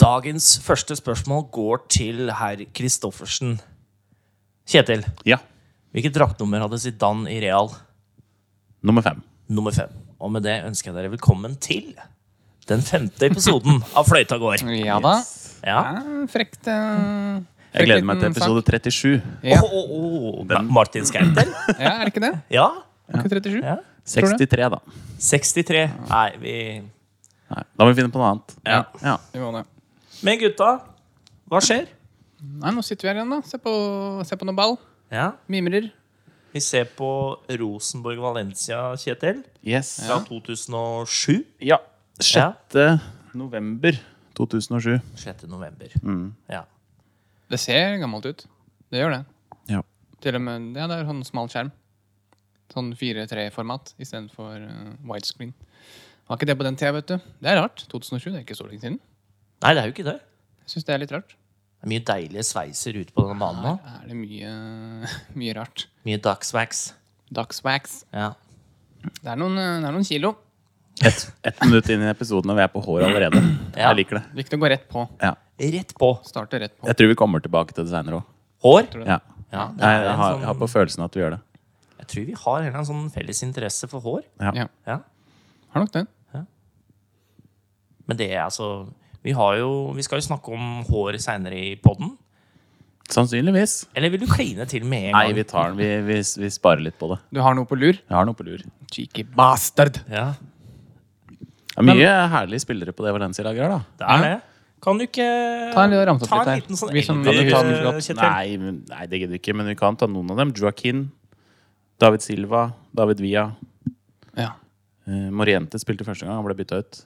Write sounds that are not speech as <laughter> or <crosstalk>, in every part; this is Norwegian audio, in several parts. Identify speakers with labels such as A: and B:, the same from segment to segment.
A: Dagens første spørsmål går til herr Kristoffersen. Kjetil,
B: Ja.
A: hvilket draktnummer hadde Zidane i Real?
B: Nummer fem.
A: Nummer fem. Og med det ønsker jeg dere velkommen til den femte episoden av Fløyta går.
C: Ja da.
A: Ja.
C: Ja, frekt eh,
B: Jeg
C: frekt
B: gleder meg til
C: liten sak.
B: episode 37.
C: Ja.
A: Åh, åh, åh, Ma- Martin Skeiter?
C: ja, er
B: <laughs>
C: det ikke det?
A: Ja.
C: Er ikke 37?
A: ja.
B: 63, da.
A: 63. Nei, vi
B: Nei, da må vi finne på noe annet.
A: ja.
B: Ja.
C: Vi må det.
A: Men gutta, hva skjer?
C: Nei, nå sitter vi her igjen, da. Se på, se på noen ball.
A: Ja.
C: Mimrer.
A: Vi ser på Rosenborg-Valencia, Kjetil,
B: Yes.
A: fra 2007.
B: Ja. 6. november 2007.
A: 6. november. Ja.
C: Det ser gammelt ut. Det gjør det.
B: Ja.
C: Til og med, ja, det er sånn smal skjerm. Sånn 4-3-format istedenfor uh, widescreen. Var ikke det på den tida, vet du. Det er rart. 2007, det er ikke så lenge siden.
A: Nei, det er jo ikke det.
C: Jeg synes det er litt rart.
A: Det er mye deilige sveiser ute på denne banen nå.
C: Her er det mye, <laughs> mye rart.
A: Mye dagswax.
C: Dagswax.
A: Ja.
C: Det er noen, eh, det er noen kilo.
B: Ett et minutt inn i episoden, og vi er på håret allerede.
A: Ja.
B: Jeg liker det.
C: Viktig å gå rett på.
B: Ja.
A: Rett på.
C: Starte rett på.
B: Jeg tror vi kommer tilbake til det seinere òg.
A: Hår.
B: Ja.
A: Ja, det
B: Jeg,
A: er en
B: har,
A: sånn-
B: jeg har på følelsen at vi gjør det.
A: Jeg tror vi har en eller annen sånn felles interesse for hår.
C: Ja,
A: Ja.
C: har nok den.
A: Men det er altså Vi, har jo, vi skal jo snakke om hår seinere i poden.
B: Sannsynligvis.
A: Eller vil du kline til med en
B: Nei,
A: gang?
B: vi tar den. Vi, vi, vi sparer litt på det.
C: Du har noe på lur?
B: Jeg har noe på lur.
C: Cheeky bastard.
A: Ja,
B: Det er mye herlige spillere på det Valencia-laget her, da.
A: det er
C: Ja.
A: det. Kan du ikke
C: Ta en liten ramse opp
A: ta en
C: litt her.
A: liten sånn
C: Vi som-
A: elver,
C: Kan du ta den
A: eh,
C: kjapt?
A: Kjetil?
B: Nei, men- nei, det gidder vi ikke, men vi kan ta noen av dem. Joaquin, David Silva, David Villa.
C: Ja.
B: Eh, Moriente spilte første gang, han ble bytta ut.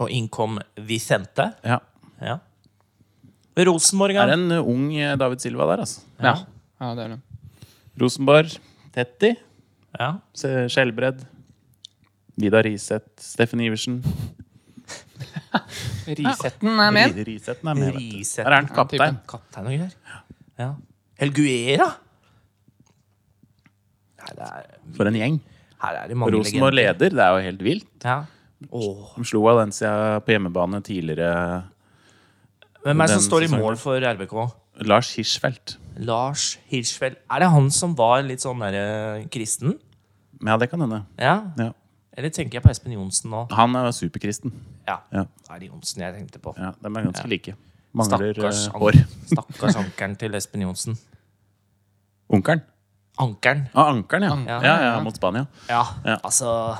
A: Og innkom Vicente.
B: Ja.
A: Ja. Rosenborg
B: Det er
A: her.
B: en eh, ung eh, David Silva der, altså.
C: Ja. ja, det er det.
B: Rosenborg, Tetti,
A: Ja.
B: Se- Skjelbred. Vidar Riseth, Steffen Iversen. Mm,
C: Risetten er med.
B: Ri- Riseth er med. vet du.
A: Riseth.
B: Der er han kaptein.
A: Kaptein og greier. Ja. Helguera! Nei, det er,
B: For en gjeng.
A: her er det mange
B: Rosenborg
A: legender.
B: leder, det er jo helt vilt.
A: Ja. Åh.
B: De slo Valencia på hjemmebane tidligere.
A: Hvem er det som
B: Den
A: står i
B: sesongen.
A: mål for RBK?
B: Lars Hirschfeldt.
A: Lars Hirschfeld. Er det han som var litt sånn derre kristen?
B: Ja, det kan hende.
A: Ja?
B: Ja.
A: Eller tenker jeg på Espen Johnsen nå?
B: Han er jo superkristen.
A: Ja.
B: Ja.
A: Det er det Johnsen jeg tenkte på.
B: Ja, de er ganske like. Mangler
A: Stakkars,
B: eh,
A: an-
B: hår.
A: <laughs> stakkars ankeren til Espen Johnsen.
B: Onkelen?
A: Ankeren.
B: Ah, ankelen, ja.
C: Ja,
B: ja. Ja,
C: ja.
B: Mot Spania.
A: Ja,
B: Ja.
A: altså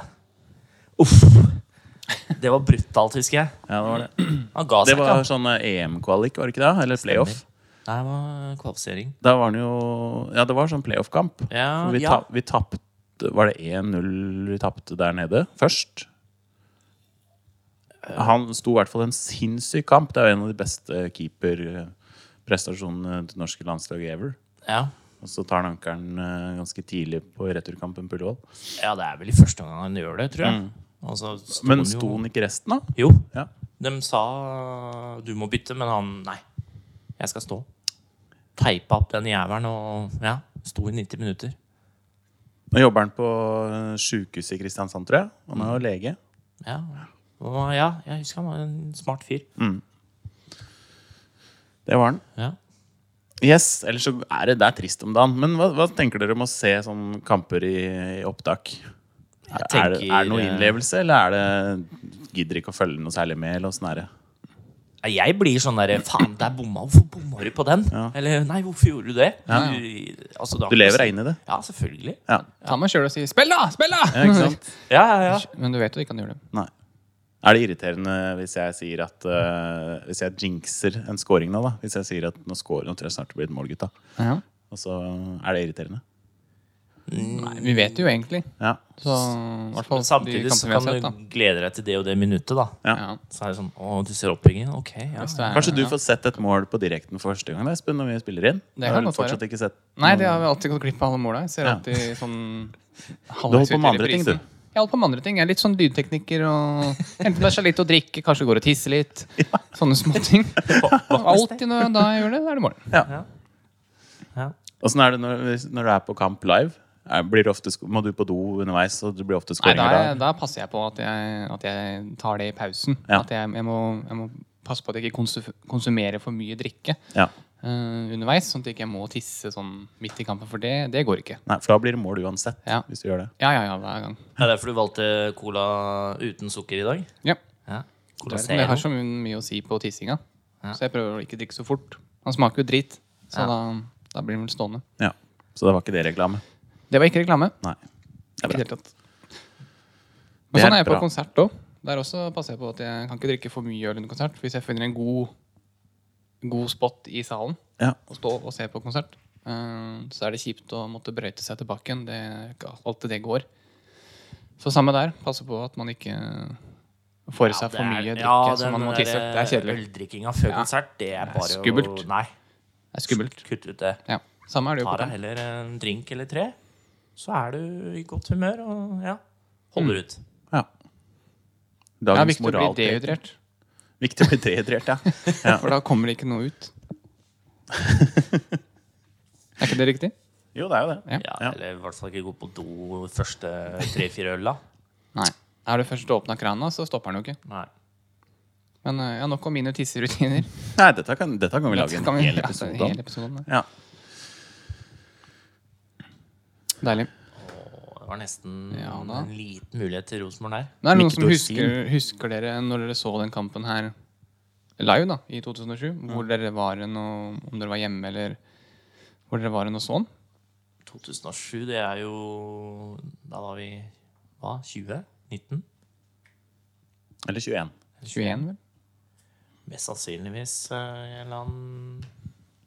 A: Uff. Det var brutalt, husker jeg.
B: Ja, det var det.
A: Han ga
B: Det
A: seg ikke.
B: var
A: han.
B: sånn eh, EM-kvalik, var det ikke det? Eller playoff.
A: Nei, det var kvalifisering.
B: Da var det jo Ja, det var sånn playoff-kamp.
A: Ja,
B: For vi,
A: ja.
B: ta- vi tapte Var det 1-0 vi tapte der nede først? Han sto i hvert fall en sinnssyk kamp. Det er jo en av de beste keeperprestasjonene til det norske landslaget ever.
A: Ja.
B: Og så tar han ankelen eh, ganske tidlig på returkampen på Ullevål.
A: ja, det er vel i første gang han gjør det, tror jeg. Og så sto
B: Mm. Men
A: han jo-
B: sto han ikke resten, da?
A: Jo.
B: Ja.
A: De sa du må bytte, men han nei. Jeg skal stå. Teipa opp den jævelen og ja, sto i 90 minutter.
B: Nå jobber han på eh, sjukehuset i Kristiansand, tror jeg. Han er jo lege.
A: Ja, og, ja jeg husker han var en smart fyr.
B: Det var han.
A: Ja.
B: Yes, ellers så er det, det er trist om dagen. Men hva, hva tenker dere om å se sånn kamper i, i opptak? Er, er, det, er det noe
A: tenker, eh,
B: innlevelse, eller er det Gidder ikke å følge noe særlig med, eller åssen er det?
A: Nei, Jeg blir sånn derre Faen, der bomma Hvorfor bomma du på den? Eller nei, hvorfor gjorde du det? Du, altså,
B: Du lever deg inn i det.
A: Ja, selvfølgelig.
B: Ja,
C: Ta meg sjøl og si 'spill, da! Spill, da!'
B: ja ikke
A: <laughs>
B: sant?
A: Ja, ja, ja.
C: <laughs> Men du vet jo ikke han gjør det.
B: Nei. Er det irriterende hvis jeg sier at eh, Hvis jeg jinxer en scoring nå, da? Hvis jeg sier at nå, scorer, nå tror jeg snart det blir et mål, gutta.
C: Ja.
B: Og så er det irriterende.
C: Nei, vi vet det jo egentlig.
B: Ja.
C: Så i hvert fall
A: Men samtidig så kan du glede deg til det og det minuttet, da.
B: ja.
C: Ja.
A: Så er det sånn Å, du ser oppbyggingen? Ok, ja.
C: Hvis det er-
B: Kanskje du får sett et mål på direkten for første gang, da, Espen, når vi spiller inn?
C: Det
B: Da
C: kan
B: har du
C: godt være.
B: fortsatt ikke sett
C: Nei, det har vi alltid gått glipp av alle måla. Jeg ser
B: Ja.
C: alltid sånn
B: Du
C: halvveis
B: holder på med
C: ut i
B: andre ting,
C: reprisen.
B: du.
C: Jeg holder på med andre ting. Jeg er litt sånn lydtekniker
B: <laughs>
C: og Henter meg seg litt å drikke, kanskje går og tisser litt. Sånne
B: <laughs>
C: småting. Alltid når da jeg gjør det, da er det morgen.
A: ja.
B: Åssen er det når, hvis- når du er på kamp live? Er, blir det ofte, sk- må du på do underveis, og det blir ofte
C: Nei, da,
B: skåringer
C: er-
B: da?
C: da passer jeg på at jeg, at jeg tar det i pausen.
B: Ja.
C: At jeg, jeg, må, jeg må passe på at jeg ikke konsu- konsumerer for mye drikke
B: Ja.
C: eh, underveis, sånn at jeg ikke må tisse sånn midt i kampen, for det, det går ikke.
B: Nei, for da blir det mål uansett.
C: Ja.
B: Hvis du gjør det.
C: Ja, ja, ja, hver gang.
A: Det er derfor du valgte cola uten sukker i dag?
C: Ja.
A: Ja. Cola
C: Men Det
A: Zero.
C: har så mye, mye å si på tissinga,
A: Ja.
C: så jeg prøver å ikke drikke så fort. Han smaker jo drit, så
A: Ja.
C: da, da blir han vel stående.
B: Ja. Så det var ikke det reklame.
C: Det var ikke reklame.
B: Nei.
C: Det
B: er bra.
C: Men
B: Det
C: sånn
B: er
C: er jeg på
B: bra.
C: konsert òg. Der også passer jeg på at jeg kan ikke drikke for mye øl under konsert. for Hvis jeg finner en god, god spot i salen
B: Ja.
C: å stå og se på konsert, eh, så er det kjipt å måtte brøyte seg tilbake igjen. Det er ikke alltid det går. Så samme der. Passe på at man ikke får i seg for mye drikke som man må tisse. Det er kjedelig.
A: Øldrikkinga før
C: Ja.
A: konsert, det er
C: Det er
A: bare å-
C: skummelt.
A: Nei,
C: Det er skummelt.
A: kutt ut det.
C: Ja. Samme er det jo
A: Ta
C: på
A: deg
C: den.
A: heller en drink eller tre, så er du i godt humør og ja,
C: Mm.
A: holder ut.
B: ja.
C: Det er
B: Dagens
C: viktig å
B: moraltrekk.
C: bli dehydrert,
B: Viktig å bli
C: <laughs>
B: dehydrert, ja. ja.
C: for da kommer det ikke
B: <laughs>
C: noe ut. Er ikke det riktig?
B: Jo, det er jo det.
C: Ja.
A: Ja,
B: Ja.
A: Eller i hvert fall ikke gå på do første tre-fire øla.
C: Nei. Er du først åpna krana, så stopper den jo ikke.
A: Nei.
C: Men eh, ja, nok om mine tisserutiner.
B: Nei, dette kan, dette kan vi lage
C: <laughs> Dette
B: en
C: kan vi-
B: hel
C: ja, altså,
B: episode
C: hele
B: om.
C: episoden, ja.
B: Ja.
C: Deilig.
A: Åh, Det var nesten
C: Ja, da.
A: en liten mulighet til Rosenborg der.
C: Men er det noen som
B: Mikrosin.
C: husker, husker dere når dere så den kampen her live da, i 2007? Hvor dere var hen, og om dere var hjemme, eller hvor dere var hen og så den?
A: 2007, det er jo Da var vi hva? 20? 19?
B: Eller 21.
C: 21, vel?
A: Mest sannsynligvis eh, i en eller annen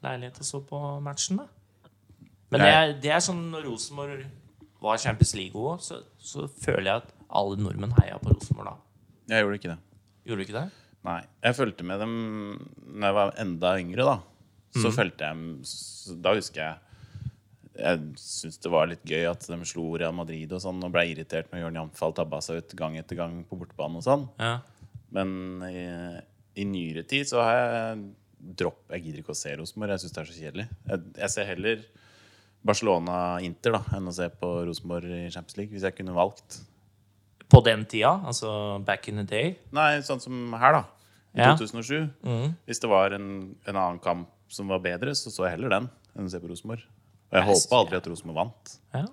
A: leilighet og så på matchen, da. Men det er, det er sånn når Rosenborg var Champions League òg, så, så føler jeg at alle nordmenn heia på Rosenborg da.
B: Jeg gjorde ikke det.
A: Gjorde du ikke det?
B: Nei. Jeg fulgte med dem når jeg var enda yngre, da. Så fulgte jeg så Da husker jeg Jeg syntes det var litt gøy at de slo Real Madrid og sånn, og ble irritert når Jørn Jamfall tabba seg ut gang etter gang på bortebane og sånn.
A: Ja.
B: Men i, i nyere tid så har jeg dropp Jeg gidder ikke å se Rosenborg. Jeg syns det er så kjedelig. Jeg, jeg ser heller Barcelona-Inter da enn å se på Rosenborg i Champions League, hvis jeg kunne valgt.
A: På den tida, altså back in the day.
B: Nei, sånn som her, da. I
A: Ja.
B: 2007. Hvis det var en, en annen kamp som var bedre, så så jeg heller den enn å se på Rosenborg. Og jeg
A: Jeg
B: håpa aldri at Rosenborg vant.
A: Ja.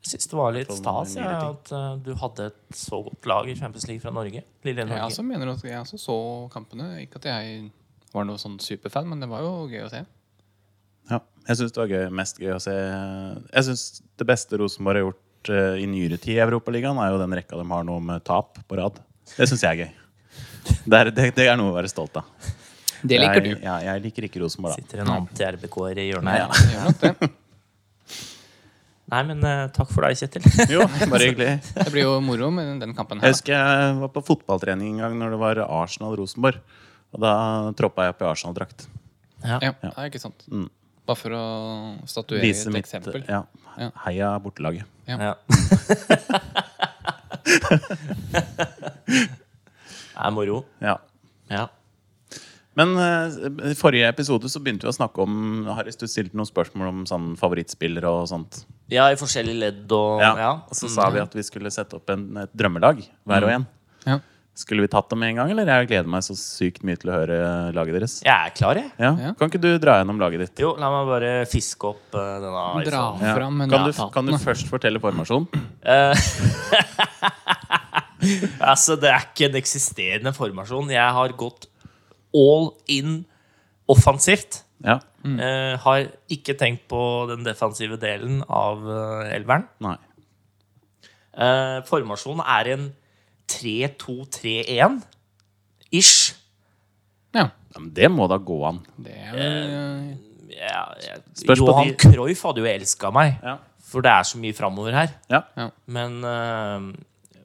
A: Jeg syns det var litt
B: Sånn
A: stas ja,
B: nyere ting.
A: at eh, du hadde et så godt lag i Champions League fra Norge. Lille
C: Jeg
A: Norge.
C: også mener at jeg også så kampene. Ikke at jeg var noe sånn superfan, men det var jo gøy å se.
B: Ja. Jeg syns det var gøy, mest gøy å se Jeg synes det beste Rosenborg har gjort eh, i nyere tid i Europaligaen, er jo den rekka de har nå med tap på rad. Det syns jeg er gøy. Det er, det, det er noe å være stolt av.
C: Det liker
B: jeg,
C: du.
B: Ja, jeg liker ikke Rosenborg, da.
A: Sitter en anti-RBK-er i hjørnet her.
B: Ja.
C: Det gjør nok det.
A: Nei, men eh, takk for deg,
B: <laughs>
A: Kjetil.
B: Jo, bare hyggelig.
C: Det blir jo moro med den kampen her.
B: Jeg
C: da.
B: husker jeg var på fotballtrening en gang når det var Arsenal-Rosenborg. Og da troppa jeg opp i Arsenal-drakt.
C: Ja, det er ikke sant. Bare for å statuere
B: Mm. Vise
C: et
B: mitt
C: eksempel.
B: ja,
C: Ja.
B: heia bortelaget. <laughs>
A: Ja. Det er moro.
B: Ja.
A: Ja.
B: Men eh, i forrige episode så begynte vi å snakke om Harris, du stilte noen spørsmål om sånn favorittspillere og sånt.
A: ja, i forskjellige ledd og
B: Ja.
A: ja.
B: Og så sa vi at vi skulle sette opp en, et drømmelag, hver
C: Mm.
B: og en.
C: Ja.
B: Skulle vi tatt dem med en gang, eller? Jeg gleder meg så sykt mye til å høre laget deres.
A: Mm. Jeg er klar, jeg.
B: Ja.
C: Ja.
B: Kan ikke du dra gjennom laget ditt?
A: Jo, la meg bare fiske opp eh, denne
C: Dra
A: iPhonen.
C: fram en
B: Kan, du,
C: dataen.
B: kan du først fortelle formasjonen?
A: Altså, det er ikke en eksisterende formasjon. Jeg har gått all in offensivt.
B: Ja.
A: Eh, har ikke tenkt på den defensive delen av eh, elveren.
B: Nei.
A: Eh, formasjonen er en 3-2-3-1 ish.
C: Ja.
B: Ja, men det må da gå an.
C: Det er vel eh,
A: Ja, jeg,
B: Spørs på
A: Johan
B: de-
A: Cruyff hadde jo elska meg,
B: Ja.
A: for det er så mye framover her.
B: Ja.
A: Men eh,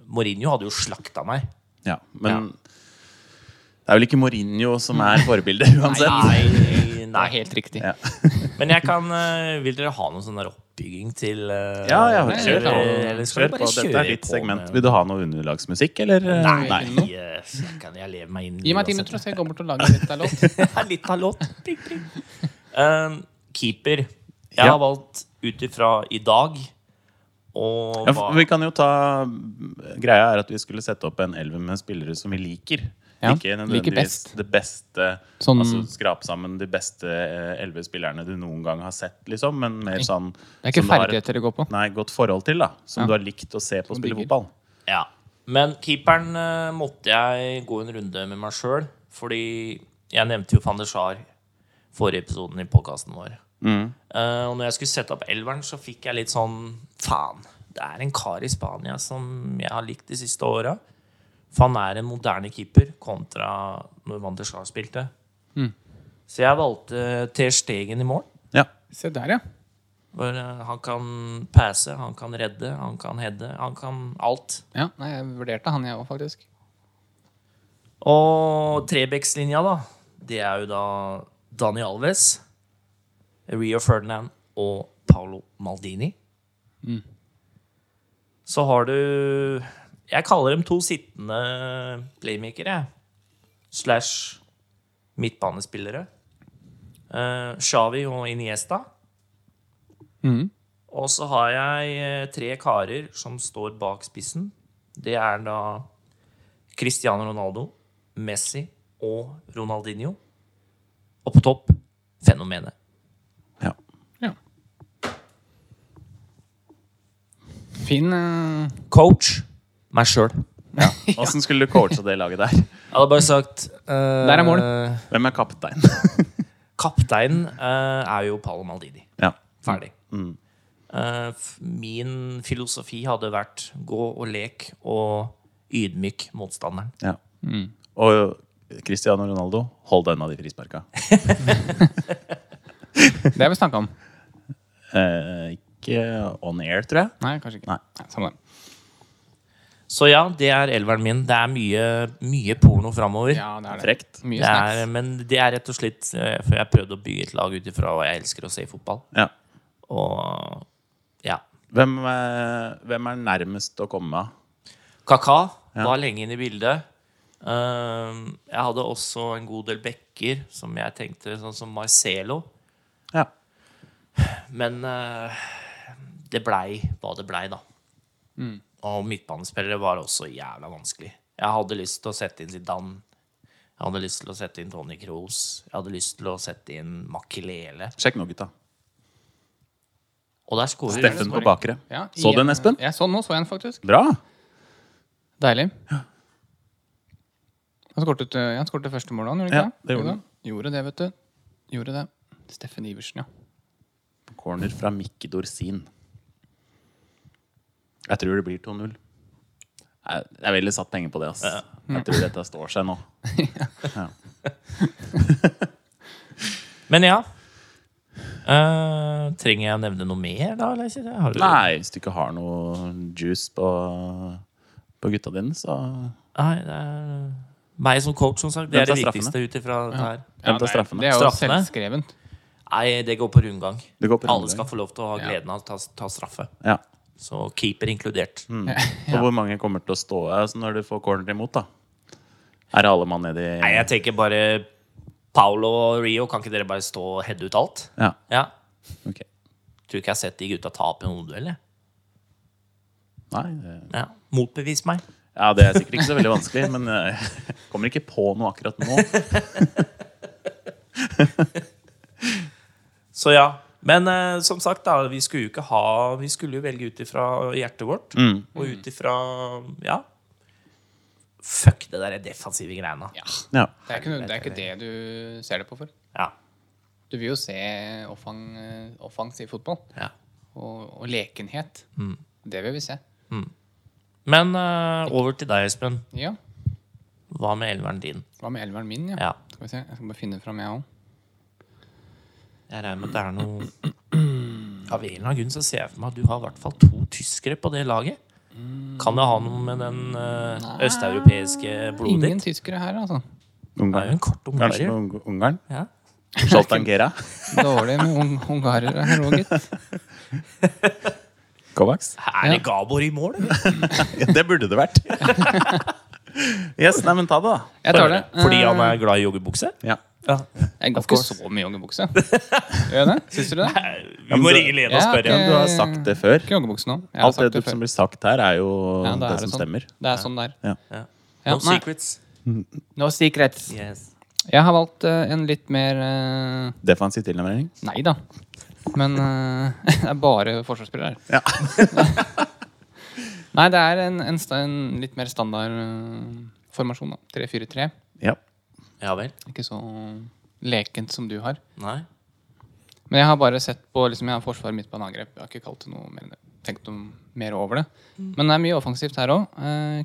A: Mourinho hadde jo slakta meg.
B: Ja, men det er vel ikke Mourinho som er <laughs> forbildet uansett.
A: Nei,
C: det
A: nei.
C: er helt riktig.
B: Ja.
A: Men jeg kan eh, Vil dere ha noen sånn der oppbygging til eh,
B: Ja, ja,
A: eller-
B: kjør på.
A: Eller skal
B: Kjør
A: du
B: på.
A: bare kjøre
B: Dette er ditt
A: på
B: segment.
A: med-
B: Vil du ha noe underlagsmusikk, eller?
A: Nei,
B: Nei.
A: eh, jeg, kan, jeg lever meg inn
C: Gi meg ti
A: uansett. <laughs>
C: minutter, så jeg går bort og lager litt av
B: <laughs>
C: låt.
A: Det er litt av låt. Pling, pling. Um, keeper. Jeg
B: Ja.
A: har valgt ut ifra i dag og
B: Ja,
A: hva
B: for vi kan jo ta Greia er at vi skulle sette opp en elver med spillere som vi liker.
C: Ja,
B: Ikke
C: liker
B: nødvendigvis
C: best.
B: det beste
C: Sånn-
B: Altså skrape sammen de beste eh, elleve spillerne du noen gang har sett, liksom. Men mer sånn
C: Det er ikke
B: som du har et-
C: ferdigheter det går på.
B: Nei, godt forhold til, da. Som
C: Ja.
B: du har likt å se på
C: Som
B: spille
C: digger.
B: fotball.
A: Ja. Men keeperen eh, måtte jeg gå en runde med meg sjøl, fordi jeg nevnte jo van der Sar forrige episoden i podkasten vår. Eh, og når jeg skulle sette opp elveren, så fikk jeg litt sånn Faen, det er en kar i Spania som jeg har likt de siste åra. For han er en moderne keeper kontra når van der Sar spilte. Så jeg valgte Ter Stegen i mål.
B: Ja.
C: Se der, ja.
A: For eh, han kan passe, han kan redde, han kan heade, han kan alt.
C: ja. Nei, jeg vurderte han, jeg òg, faktisk.
A: Og Trebekslinja, da, det er jo da Dani Alves, Rio Ferdinand og Paolo Maldini. Så har du Jeg kaller dem to sittende playmakere. jeg. Slash midtbanespillere. Eh, Xavi og Iniesta.
C: Mhm.
A: Og så har jeg eh, tre karer som står bak spissen. Det er da Cristiano Ronaldo, Messi og Ronaldinho. Og på topp fenomenet.
B: ja.
C: Ja. Fin eh,
A: Coach meg sjøl.
B: Åssen skulle du coacha det laget der?
A: Jeg hadde bare sagt
C: Der er
B: Hvem er kaptein?
A: Kapteinen eh, er jo Paolo Maldini.
B: <laughs> ja.
A: Ferdig. Eh, f- min filosofi hadde vært gå og lek og ydmyk motstanderen.
B: ja. Mm. Og Cristiano Ronaldo, hold deg unna de frisparka.
C: Det har vi snakka om.
B: Eh, ikke on air, tror jeg.
C: Nei, kanskje ikke.
B: Nei.
C: Samme det.
A: Så ja, det er elveren min. Det er mye, mye porno framover.
C: Ja, det er det.
B: Frekt.
C: Mye
A: Det
C: snacks.
A: er, men det er rett og slett eh, For jeg har prøvd å bygge et lag ut ifra hva jeg elsker å se i fotball.
B: Ja.
A: Og ja.
B: Hvem, eh, hvem er nærmest å komme?
A: Kaka var lenge inne i bildet. Ehm, jeg hadde også en god del bekker som jeg tenkte sånn som Marcelo.
B: Ja.
A: Men eh, det blei hva det blei, da. Og midtbanespillere var også jævla vanskelig. Jeg hadde lyst til å sette inn Zidane. Jeg hadde lyst til å sette inn Tony Kroos. Jeg hadde lyst til å sette inn Makelele.
B: Sjekk nå, gutta.
A: Og der skårer
B: Steffen på bakre.
C: Ja,
B: Så du
C: igjen.
B: den, Espen?
C: Ja, så nå så jeg den faktisk.
B: Bra!
C: Deilig. Han skårte ut, ja, han skårte første mål, han, gjorde
B: Ja,
C: han ikke
B: det gjorde
C: han. Gjorde det, vet du. Gjorde det. Steffen Iversen, ja.
B: Corner fra Mikke Dorsin. Jeg tror det blir 2-0. Jeg, jeg ville satt penger på det. ass. Jeg tror dette står seg nå.
A: Men ja. Eh, trenger jeg å nevne noe mer, da? Eller? ikke? Har du-
B: Nei, hvis du ikke har noe juice på, på gutta dine, så
A: Nei, det er eh, meg som coach, som sagt. Det er
B: Hvem
A: det
B: tar
A: viktigste ut ifra det her.
B: Hvem
C: Ja,
B: tar
C: nei,
B: straffene?
C: Det er jo
A: Straffene?
C: selvskrevent.
A: Nei, det går på rundgang.
B: Det går på
A: Alle
B: rundgang.
A: skal få lov til å ha
C: Ja.
A: gleden av å ta, ta straffe.
B: ja.
A: Så keeper inkludert.
B: Og hvor mange kommer til å stå altså, når du får corner imot, da? Er det alle mann nedi
A: Nei, jeg tenker bare Paolo og Rio, kan ikke dere bare stå og heade ut alt?
B: Ja,
A: Ja.
B: ok.
A: Tror ikke jeg har sett de gutta tape en hodeduell, jeg.
B: Nei, det-
A: Ja. Motbevis meg.
B: ja, det er sikkert ikke så veldig vanskelig, men jeg <laughs> kommer ikke på noe akkurat nå.
A: Så ja. Men eh, som sagt, da, vi skulle jo ikke ha Vi skulle jo velge ut ifra hjertet vårt.
C: Mm.
A: Og ut ifra Ja. Fuck det der defensive greiene.
C: Ja.
B: Ja.
C: Det er, ikke, noe- det er ikke det du ser det på for.
A: Ja.
C: Du vil jo se offang, eh, offensiv fotball
A: ja.
C: og, og lekenhet. Det vil vi se.
A: Men eh, over til deg, Espen.
C: Ja.
A: Hva med elveren din?
C: Hva med elveren min, ja?
A: Ja.
C: Skal vi se. Jeg skal bare finne fram, jeg òg.
A: Jeg regner med at det er noe <clears throat> Av en eller annen grunn så ser jeg for meg at du har i hvert fall to tyskere på det laget. Kan det ha noe med den eh, østeuropeiske blodet
C: Ingen
A: ditt?
C: tyskere her, altså.
A: Det er jo en kort
B: Kanskje
A: ungarer.
B: noe Ungarn?
A: Ja.
B: Zoltan Gera?
C: Dårlig med un ungarere her òg, gitt.
B: Kovacs?
A: Er det Gabor i mål, eller?
B: Ja, det burde det vært. Yes, nei, men ta det, da.
C: Jeg tar det. Eh,
A: Fordi han er glad i joggebukse?
B: Ja.
A: Ja.
C: Jeg går
A: Of
C: ikke
A: course.
C: så mye joggebukse. Gjør jeg det? Syns du det?
A: Vi må ringe Lene og
C: Ja,
A: spørre.
B: Men du har sagt det før.
C: Ikke joggebukse nå. Jeg har
B: Alt
C: sagt
B: det
C: det
B: du- som
C: før.
B: blir sagt her, er jo
C: Ja, da
B: det,
C: er
B: som
C: sånn.
B: stemmer.
C: Det er sånn det er.
B: Ja.
A: Ja.
C: Ja,
A: No
C: nei.
A: secrets.
C: No secrets.
A: Yes.
C: Jeg har valgt eh, en litt mer eh,
B: Defensiv tilnærming.
C: Nei da. Men eh, <laughs> det er bare forsvarsspillere her.
B: Ja.
C: <laughs> Nei, det er en, en, sta- en litt mer standard eh, formasjon, da. 3-4-3.
B: ja.
A: Ja vel?
C: Ikke så lekent som du har.
A: Nei?
C: Men jeg har bare sett på liksom, Jeg har forsvar, midtbane, angrep. Jeg har ikke kalt det noe mer enn det. Tenkt noe mer over det. Men det er mye offensivt her òg.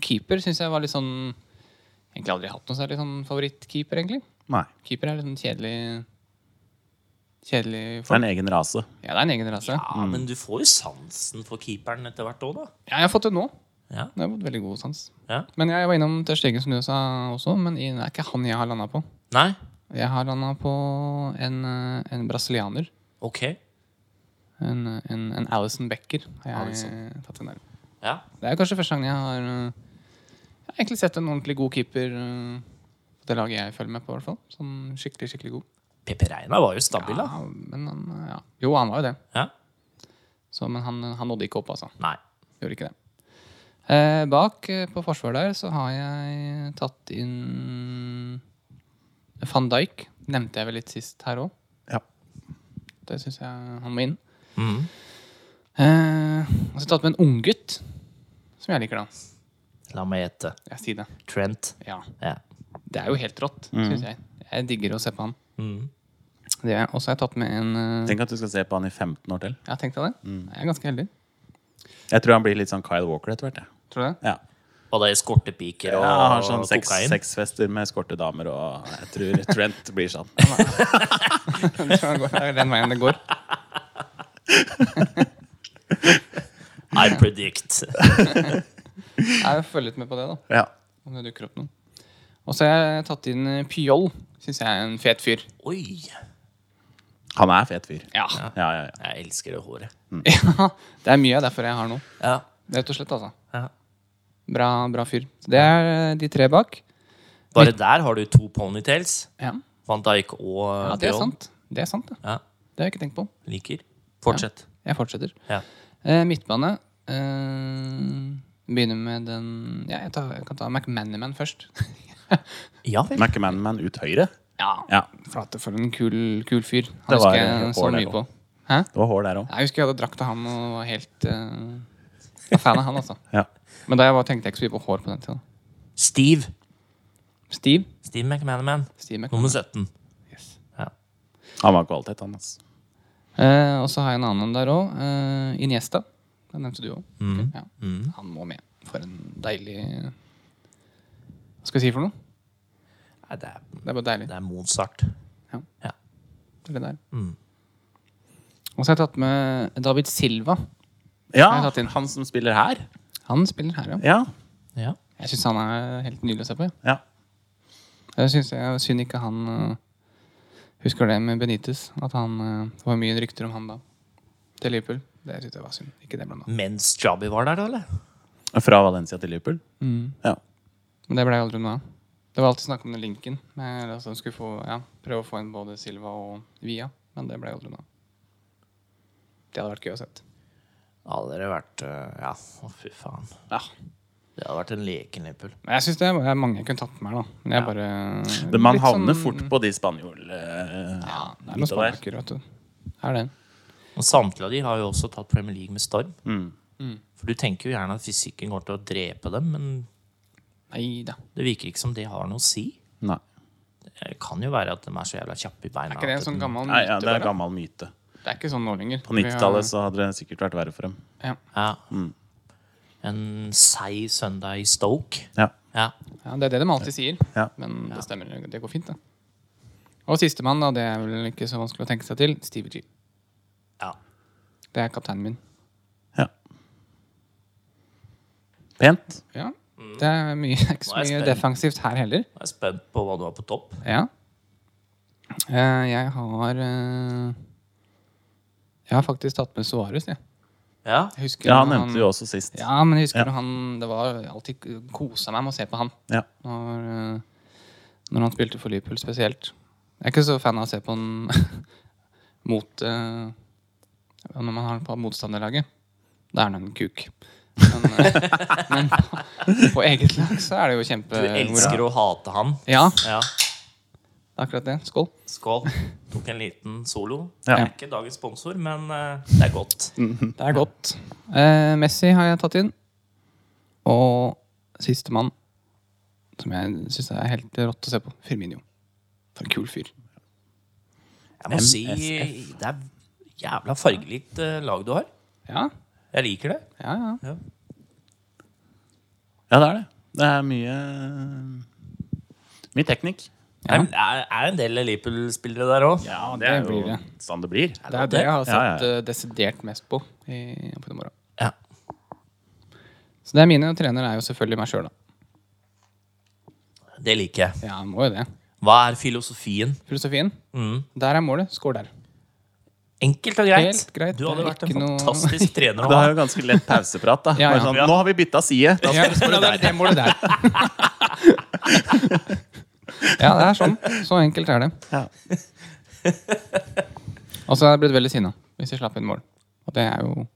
C: keeper syns jeg var litt sånn Egentlig aldri hatt noe særlig sånn favorittkeeper, egentlig.
B: Nei.
C: Keeper er litt sånn kjedelig Kjedelig
B: Det er
C: folk.
B: en egen rase.
C: Ja, det er en egen rase. Ja.
A: Ja, men du får jo sansen for keeperen etter hvert òg, da.
C: jeg har fått det nå.
A: Ja.
C: Det har fått veldig god sans.
A: ja.
C: Men jeg var innom Ter Stegen, som du sa også, men i- det er ikke han jeg har landa på.
A: Nei?
C: Jeg har landa på en, eh, en brasilianer.
A: Ok.
C: En, en, en Alison Becker har jeg
A: Alisson.
C: tatt en der.
A: Ja.
C: Det er kanskje første gang jeg har øh, Jeg har egentlig sett en ordentlig god keeper øh, på det laget jeg følger med på, i hvert fall. Sånn skikkelig, skikkelig god.
A: Pepe Reina var jo stabil, da.
C: Ja, men han, øh, ja. Jo, han var jo det.
A: Ja.
C: Så, men han, han nådde ikke opp, altså.
A: Nei.
C: Gjorde ikke det. Eh, bak eh, på forsvar der så har jeg tatt inn Van Dijk. Nevnte jeg vel litt sist her òg.
B: Ja.
C: Det syns jeg han må inn.
A: Mhm.
C: Eh, og så har jeg tatt med en unggutt som jeg liker, da.
A: La meg gjette.
C: Jeg sier det.
A: Trent.
C: Ja.
A: Ja.
C: Det er jo helt rått, syns jeg. Jeg digger å se på han.
A: Mhm.
C: Det er- Og så har jeg tatt med en øh,
B: Tenk at du skal se på han i 15 år til.
C: Ja, tenk deg det. Jeg er ganske heldig.
B: Jeg tror han blir litt sånn Kyle Walker etter hvert. jeg.
C: Tror du det?
B: Ja.
A: Og det er eskortepiker
B: Ja,
A: og
B: han har sånn seks-
A: kokain.
B: sexfester med eskorte damer, og jeg <laughs> tror Trent blir sånn.
C: Jeg tror det går- det er den veien det går.
A: I predict. <laughs>
C: Jeg følger litt med på det, da.
B: Ja.
C: Om det dukker opp noen. Og så har jeg tatt inn øh, Pyol. Syns jeg er en fet fyr.
A: Oi!
B: Han er fet fyr.
C: Ja.
B: Ja, ja, ja.
A: Jeg elsker det håret.
C: ja. Det er mye av derfor jeg har noe.
A: Ja.
C: Rett og slett, altså.
A: ja.
C: Bra, bra fyr. Det er øh, de tre bak.
A: Bare der har du to ponytails.
C: Ja,
A: Van Dijk og
C: ja det er
A: Bjørn.
C: sant. Det er sant, det.
A: Ja.
C: Det har jeg ikke tenkt på.
A: Liker. Fortsett.
C: Jeg fortsetter.
A: Ja.
C: Eh, midtbane. Eh, begynner med den Ja, jeg, tar, jeg kan ta McManaman først. <laughs>
A: Ja vel.
B: McManaman ut høyre.
C: ja.
B: Ja.
C: Flate for en kul, kul fyr. Han
B: Det var
C: husker jeg
B: et
C: så
B: år der
C: mye på.
B: også.
C: Hæ?
B: Det var hår der òg.
C: Jeg husker jeg hadde drakt av han og var helt eh, var fan av han, altså.
B: Ja.
C: Men da jeg var, tenkte jeg ikke så mye på hår på den tida.
A: Steve.
C: Steve.
A: Steve McManaman.
C: Steve
A: Nummer
C: McManaman.
A: 17.
C: Yes.
A: Ja.
B: Han var kvalitet, han. ass.
C: Eh, og så har jeg en annen der òg. Eh, Iniesta. Den nevnte du òg. Ja.
A: Mm.
C: Han må med. For en deilig Hva skal jeg si for noe?
A: Nei, det er,
C: Det er bare deilig.
A: det er Mozart.
C: Det er det der.
A: Mm.
C: Og så har jeg tatt med David Silva.
B: Ja,
C: Jeg har tatt inn.
B: han som spiller her.
C: Han spiller her, ja.
B: Ja.
A: Ja.
C: Jeg syns han er helt nydelig å se på. ja.
B: ja.
C: Jeg synes jeg Synd ikke han øh, husker det med Benitez. At han, øh, det var mye rykter om han da. Til Liverpool. Det synes jeg var synd. Ikke det blanda.
A: Mens Jabby var der, da, eller?
B: Fra Valencia til Liverpool.
C: Mm.
B: Ja.
C: Men det ble aldri noe av. Det var alltid snakk om den linken. Med, altså, de skulle få, ja, prøve å få inn både Silva og Via. Men det ble aldri noe av. Det hadde vært gøy å sett.
A: Da hadde det vært øh, Ja, å, fy faen. Det hadde vært en leken Liverpool.
C: Men jeg syns det er mange jeg kunne tatt med her, da. Men jeg bare
B: Men Man
C: litt
B: havner
C: sånn-
B: fort på de spanjol... eh,
C: Ja, det er
B: Litt
C: noen
B: av hver.
C: smaker, vet du. Er det.
A: Og samtlige av de har jo også tatt Premier League med storm.
B: Mm.
A: For du tenker jo gjerne at fysikken går til å drepe dem, men
C: Nei da.
A: det virker ikke som det har noe å si.
B: Nei.
A: Det kan jo være at de er så jævla kjappe i beina.
C: Er ikke det en
A: at den-
C: sånn gammel myte?
B: Nei, ja, det er
C: bare?
B: gammel myte.
C: det er ikke sånn nå lenger.
B: På 90-tallet så hadde det sikkert vært verre for dem.
C: ja.
A: Ja. En seig søndag i Stoke.
B: Ja.
A: Ja.
C: ja, Det er det de alltid sier.
B: Ja.
C: Men det stemmer. Det går fint, det. Og sistemann, da. Det er vel ikke så vanskelig å tenke seg til. Stevie G.
A: ja.
C: Det er kapteinen min.
B: ja. Pent.
C: Ja. Det er mye, <laughs> ikke
A: Mm. Nå
C: så
A: er jeg
C: mye
A: spent.
C: defensivt her heller.
A: Jeg er spent på hva du har på topp.
C: Ja. Eh, Jeg har eh, Jeg har faktisk tatt med Suarez, jeg.
A: Ja.
C: jeg husker
B: Ja, han
C: når
B: nevnte du jo også sist.
C: Ja, men jeg husker
B: Ja.
C: når han Det var alltid kosa meg med å se på han.
B: Ja.
C: Når, eh, når han spilte for Liverpool spesielt. Jeg er ikke så fan av å se på han <laughs> mot eh, Når man har han på motstanderlaget. Da er han en kuk. Men, eh, <laughs> men på eget lag så er det jo
A: Du
C: kjempe...
A: elsker å hate han.
C: Ja, det
A: Ja.
C: er akkurat det. Skål.
A: Skål. Tok en liten solo.
B: Ja.
A: Det er ikke dagens sponsor, men eh, det er godt.
C: Det er godt. Eh, Messi har jeg tatt inn. Og sistemann, som jeg syns er helt rått å se på, Firmino. For en kul fyr.
A: Jeg må si
B: MSF.
A: det er jævla fargelikt eh, lag du har.
C: Ja,
A: Jeg liker det.
C: ja, ja.
A: Ja.
B: Ja, det er det. Det er mye Mye teknikk.
A: Nei, men Det er, er en del Liverpool-spillere der òg.
B: Ja,
C: det er jo blir det.
B: sånn det blir.
C: Det er det jeg har
B: Ja, ja, ja.
C: sett eh, desidert mest på. I, på morgenen.
A: Ja.
C: Så det er mine, og trener er jo selvfølgelig meg sjøl, da.
A: Det liker jeg.
C: Ja, jeg må jo det.
A: Hva er filosofien?
C: Filosofien.
A: Mm.
C: Der er målet. Skår der.
A: Enkelt og greit.
C: Helt greit.
A: Du hadde
C: Det er
A: vært en
C: ikke noe- <laughs>
A: fantastisk trener å
B: Det
A: ha.
B: er jo ganske lett pauseprat. da
C: Ja, ja.
B: Bare sånn, Nå har vi bytta side! Da
C: <laughs>
B: skal
C: Ja,
B: vi
C: det
B: spørre
C: er
B: deg.
C: det målet <laughs> der. ja, det er sånn. Så enkelt er det.
B: Ja.
C: Og så er Altså, jeg blitt veldig sinna hvis jeg slapp inn mål. Og det er jo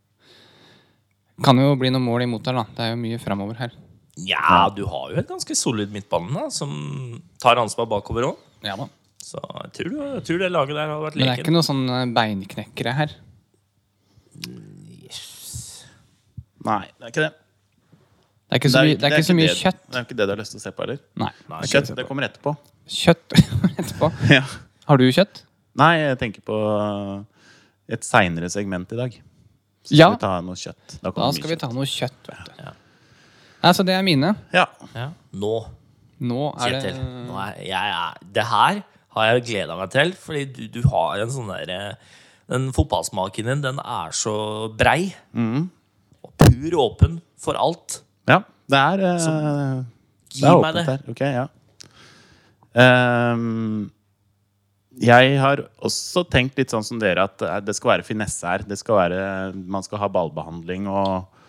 C: Kan jo bli noen mål imot der, da. Det er jo mye framover her.
A: Ja, du har jo et ganske solid midtbane da, som tar ansvar bakover òg.
C: Ja da.
A: Så jeg tror, du, jeg tror det laget der hadde vært
C: Men det er ikke
A: leken.
C: noe sånn eh, beinknekkere her.
B: Nei, det er ikke det.
C: Det er ikke så, mye- det er ikke så mye kjøtt.
B: Det er ikke det du har lyst til å se på heller.
C: Nei.
A: Nei,
B: Det er
A: kjøtt.
B: Kjøtt, det kommer
C: <laughs>
B: etterpå.
C: Kjøtt etterpå.
B: Ja.
C: Har du kjøtt?
B: Nei, jeg tenker på eh, et seinere segment i dag. Så
C: Ja.
B: Skal vi ta noe kjøtt? Da
C: Da
B: kommer det
C: skal
B: mye
C: vi ta noe kjøtt, vet du.
A: Ja.
C: Nei, så det er mine.
B: kjøtt. Ja.
A: Ja. Nå,
C: Nå er det
A: Kjetil. Nå er, jeg er, det her har jeg gleda meg til, fordi du, du har en sånn derre Den fotballsmaken din, den er så brei.
B: Mm.
A: Og pur åpen for alt.
B: Ja, det er eh,
A: gi
B: Det er
A: meg
B: åpent
A: det.
B: her. Ok, ja. Ehm, jeg har også tenkt litt sånn som dere, at eh, det skal være finesse her. Det skal være, man skal ha ballbehandling og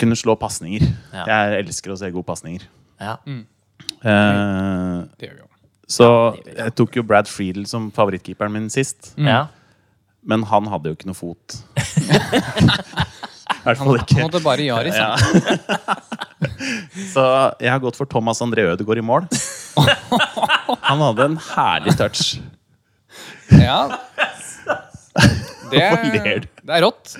B: kunne slå pasninger.
A: Ja.
B: Jeg elsker å se gode pasninger.
A: Ja.
C: Mm.
B: Eh,
C: Det gjør vi jo.
B: så jeg tok jo Brad Friedel som favorittkeeperen min sist.
A: ja.
B: Men han hadde jo ikke noe fot.
A: <laughs>
B: <laughs> I hvert fall
C: Han
B: ikke.
C: hadde bare Yaris. han.
B: Så jeg har gått for Thomas André Ødegaard i mål. <laughs> Han hadde en herlig <laughs> touch.
C: Ja. Det,
B: Hvorfor ler
C: er-
B: du?
C: det er rått.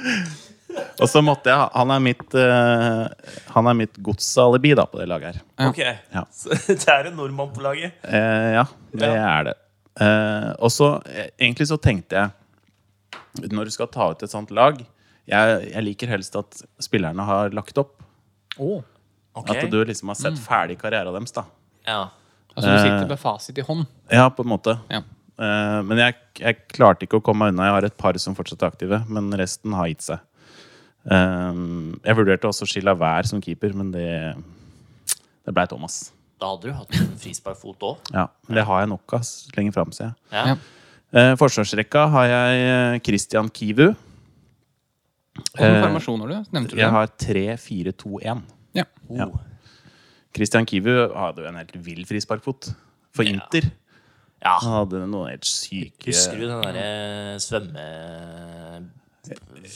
B: Og så måtte jeg ha Han er mitt, eh, han er mitt godsalibi da, på det laget her.
A: Ok.
B: Ja.
A: Så <laughs> det er en nordmann på laget.
B: Eh, ja, det
A: Ja.
B: er det. Eh, og så eh, egentlig så tenkte jeg Når du skal ta ut et sånt lag jeg, jeg liker helst at spillerne har lagt opp.
A: Ok.
B: At du liksom har sett ferdig karrieren deres. da
A: Ja.
C: Altså, du sitter med fasit i hånd.
B: Ja, på en måte.
C: Ja.
B: Eh, men jeg, jeg klarte ikke å komme meg unna. Jeg har et par som fortsatt er aktive, men resten har gitt seg. Eh, jeg vurderte også Sheila Wær som keeper, men det, det blei Thomas.
A: Da hadde du hatt en frisparkfot òg.
B: Ja, men Det har jeg nok av s- lenger fram, ser jeg.
A: Ja.
C: Ja.
B: Eh, forsvarsrekka har jeg eh, Christian Kivu.
C: Hvilke formasjoner du? Nevnte du
B: Jeg
C: det?
B: har 3-4-2-1.
C: Ja.
A: Oh. Ja.
B: Christian Kivu hadde jo en helt vill frisparkfot for Inter. Han hadde noen helt syke
A: Husker du den eh, derre svømmeblua,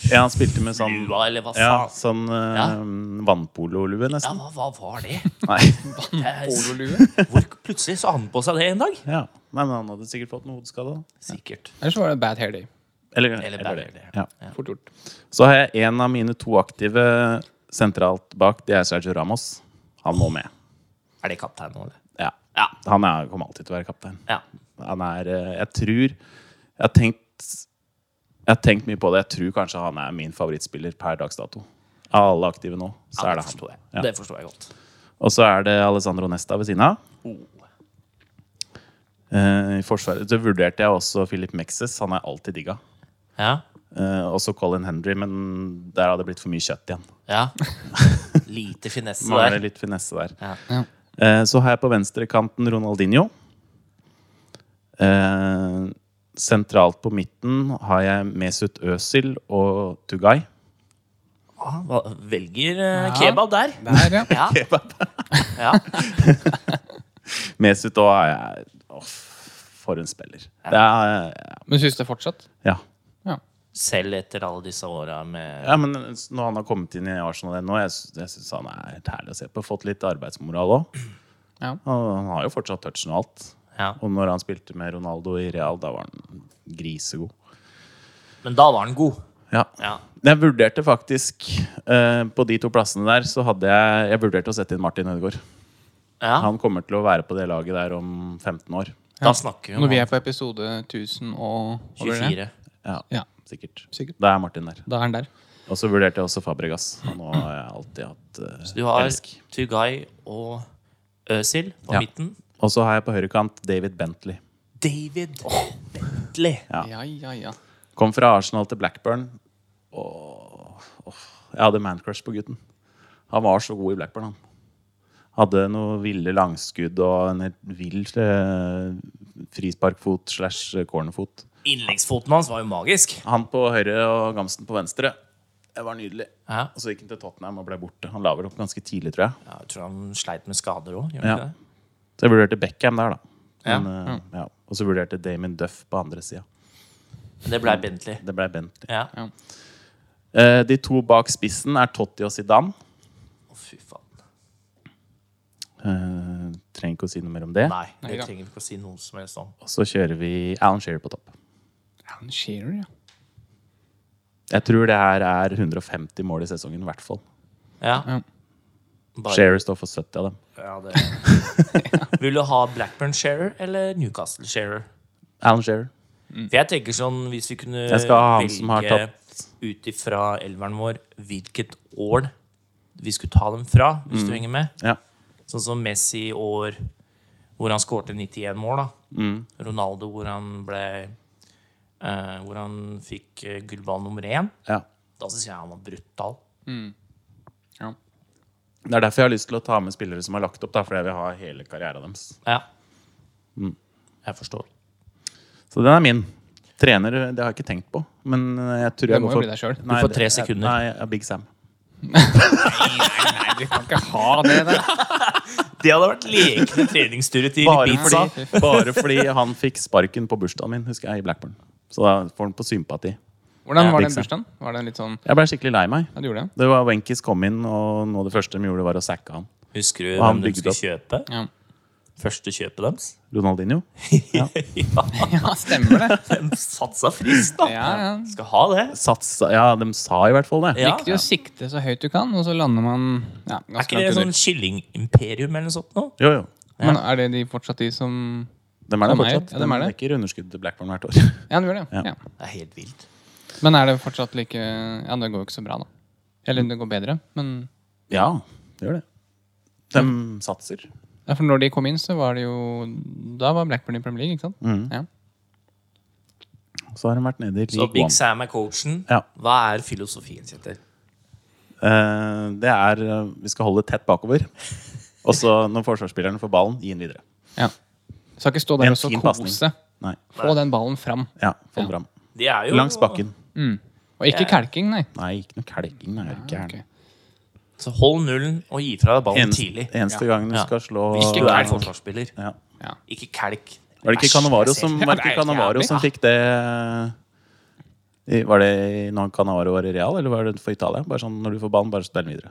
B: Ja, han spilte med sånn
A: eller hva
B: Ja,
A: faen?
B: sånn eh,
A: altså. Ja.
B: vannpololue,
A: Ja,
B: nesten.
A: hva, hva var
B: <laughs>
A: det?
B: Nei.
A: Jeg-
C: Pololue?
A: Hvor plutselig så hadde han på seg det en dag.
B: Ja. Nei, men han hadde sikkert fått noe hodeskade. da.
A: Sikkert.
C: Eller så var det Bad Hair Day.
B: Eller,
A: Eller
B: eller
A: bare
B: det.
A: det.
B: Ja.
C: Fort gjort.
B: Så har jeg en av mine to aktive sentralt bak. Det er Sergio Ramos. Han må med.
A: Er det kaptein nå, eller?
B: Ja.
A: Ja.
B: Han er, kommer alltid til å være kaptein.
A: ja.
B: Han er eh, Jeg tror Jeg har tenkt Jeg har tenkt mye på det. Jeg tror kanskje han er min favorittspiller per dags dato. Av alle aktive nå, så
A: ja
B: er det
A: forstår jeg.
B: han. Ja.
A: Det forstår jeg godt.
B: Og så er det Alessandro Nesta ved siden av.
A: Oh.
B: Eh, I forsvaret så vurderte jeg også Philip Mexes. Han er alltid digga.
A: Ja.
B: Eh, også Colin Henry, men der hadde det blitt for mye kjøtt igjen. <laughs>
A: ja. Lite finesse
B: Mangler
A: der.
B: litt finesse der.
A: Ja.
C: Ja.
B: Eh, så har jeg på venstrekanten Ronaldinho. Eh, sentralt på midten har jeg Mesut Özil og Tugay.
A: Ah, hva- Velger eh, kebab der.
B: <laughs>
C: Der, ja.
A: Ja. ja.
B: Mesut òg er jeg Åh, For en spiller. Det er,
C: Men syns det fortsatt?
B: ja.
C: Ja.
A: Selv etter alle disse åra med
B: Ja, men når han har kommet inn i Arsenal igjen nå, jeg, sy- jeg syns han er helt herlig å se på. Fått litt arbeidsmoral òg.
C: Ja.
B: Han, han har jo fortsatt touchen og alt.
A: ja.
B: Og når han spilte med Ronaldo i Real, da var han grisegod.
A: Men da var han god.
B: Ja.
A: Ja.
B: Jeg vurderte faktisk eh, På de to plassene der så hadde jeg Jeg vurderte å sette inn Martin Ødegaard.
A: ja.
B: Han kommer til å være på det laget der om 15 år.
A: Da snakker vi om
C: Når vi er
A: han.
C: på episode 1000 og hva blir det?
A: 24.
B: Ja,
C: Ja,
B: sikkert.
C: sikkert.
B: Da er Martin der.
C: Da er han der.
B: Og så vurderte jeg også Fabregas. Han har jeg alltid hatt eh,
A: Du har
B: elsk.
A: Tugay og Øsil på
B: Ja.
A: midten.
B: Og så har jeg på høyrekant David Bentley.
A: David Bentley.
B: Ja.
C: Ja, ja, ja.
B: Kom fra Arsenal til Blackburn. Åh, åh, jeg hadde mancrush på gutten. Han var så god i Blackburn, han. Hadde noen ville langskudd og en helt vill eh, frisparkfot slash eh, cornerfot.
A: Innleggsfoten hans var jo magisk.
B: Han på høyre og Gamsten på venstre. Det var nydelig.
A: Ja.
B: Og så gikk han til Tottenham og ble borte. Han la vel opp ganske tidlig, tror jeg.
A: Ja, Jeg tror han sleit med skader òg.
B: Ja.
A: Ja.
B: Så jeg vurderte Beckham der, da.
A: Ja. Mm.
B: Men, eh, ja. Og så vurderte jeg Damien Duff på andre sida.
A: Det ble Bentley.
B: Det ble Bentley.
A: Ja.
B: Eh, de to bak spissen er Totti og Zidane.
A: Å, fy faen.
B: Eh, trenger ikke å si noe mer om det.
A: Nei, det
C: Nei da.
A: trenger vi ikke å si noe som helst om.
B: Og så kjører vi Alan Shearer på topp.
C: Alan Shearer, ja.
B: Jeg tror det her er 150 mål i sesongen, i hvert fall.
A: Ja,
C: ja.
A: bare,
B: Shearer står for 70 av dem.
A: ja det. Vil du ha Blackburn Sharer eller Newcastle Sharer?
B: Alan Shearer.
A: For jeg tenker sånn, hvis vi kunne
B: Jeg skal ha han som har
A: ut ifra elveren vår hvilket år vi skulle ta dem fra, hvis du henger med.
B: Mm. Ja.
A: Sånn som Messi i år hvor han skårte 91 mål. da.
B: Mm.
A: Ronaldo hvor han ble eh, Hvor han fikk eh, gullball nummer én.
B: ja.
A: Da syns jeg han var brutal.
C: ja.
B: Det er derfor jeg har lyst til å ta med spillere som har lagt opp, da, fordi jeg vil ha hele karrieren deres.
A: Ja.
B: Mm.
A: Jeg forstår.
B: Så den er min. Trener eh, det har jeg ikke tenkt på. Men eh, jeg tror jeg
C: må
B: går
C: jo
B: for
C: bli deg selv.
B: Nei,
A: får
B: det-
A: tre sekunder.
B: Nei, jeg er Big Sam.
C: Nei, vi kan ikke ha det der.
A: Det hadde vært
B: <laughs>
A: lekende treningsturer til
B: Bare
A: Ibiza.
B: fordi, bare fordi han fikk sparken på bursdagen min, husker jeg, i Blackburn. Så da får han på sympati.
C: Hvordan var
B: Ja,
C: den
B: ikke
C: bursdagen? Var den litt sånn
B: Jeg ble skikkelig lei meg.
C: Ja, du gjorde det?
B: Det var Wenchis kom inn, og noe av det første de gjorde, var å sacke han.
A: Husker du
B: Og han
A: hvem de
B: bygde
A: skulle kjøpe?
C: Ja.
A: Første kjøpet deres? <laughs>
B: Ronaldinho.
A: ja,
C: ja, stemmer det.
A: de satsa friskt, da.
C: Ja, ja.
A: Skal ha det.
B: Satsa Ja, de sa i hvert fall det.
A: Ja.
C: Viktig å sikte så høyt du kan, og så lander man ja,
A: Er
C: ganske
A: ikke det
C: langt
A: sånn
C: under.
A: kyllingimperium eller noe sånt nå?
B: Jo, jo.
C: Men er det de fortsatt de som
B: De er der
C: De er-
B: fortsatt.
C: ja, de er
B: De
C: det.
B: dekker underskudd til Blackburn hvert år. <laughs>
C: Ja, du gjør det.
B: Ja.
C: Ja.
A: Det er helt vilt.
C: Men er det fortsatt like Ja, det går jo ikke så bra, da. Eller det går bedre, men
B: Ja, det gjør det. De satser.
C: ja, For når de kom inn, så var det jo Da var Blackburn i Premier League, ikke sant?
B: Mm.
C: Ja.
B: Så har de vært nede i
A: Så
B: League
A: Big
B: One.
A: Sam er coachen.
B: Ja.
A: Hva er filosofien, Kjetil?
B: Eh, det er eh, Vi skal holde tett bakover. Og så, når forsvarsspilleren får ballen, gi den videre.
C: ja. Skal ikke stå
B: En
C: der og så
B: fin
C: kose.
B: pasning. Nei.
C: Få den ballen fram.
B: Ja, få
C: Ja.
B: den fram.
A: De er jo
B: Langs bakken.
C: Og ikke
A: Ja.
C: kalking, nei.
B: Nei, ikke noe kelking. Nei, er du gæren.
C: Ok.
A: Så hold nullen og gi fra deg ballen
B: Eneste,
A: tidlig.
B: eneste gangen du
A: Ja.
B: skal slå
A: Hvis du
B: ja.
A: er forsvarsspiller.
C: Ja.
A: Ikke kalk.
B: Var det ikke
A: Æsj,
B: Canavaro
A: jeg ser
B: som,
A: det.
B: var det ikke
C: Ja, det er
B: Cannavaro
C: jævlig.
B: som fikk det i- Var det når Canavaro var i Real, eller var det for Italia? Bare sånn, Når du får ballen, bare spill den videre.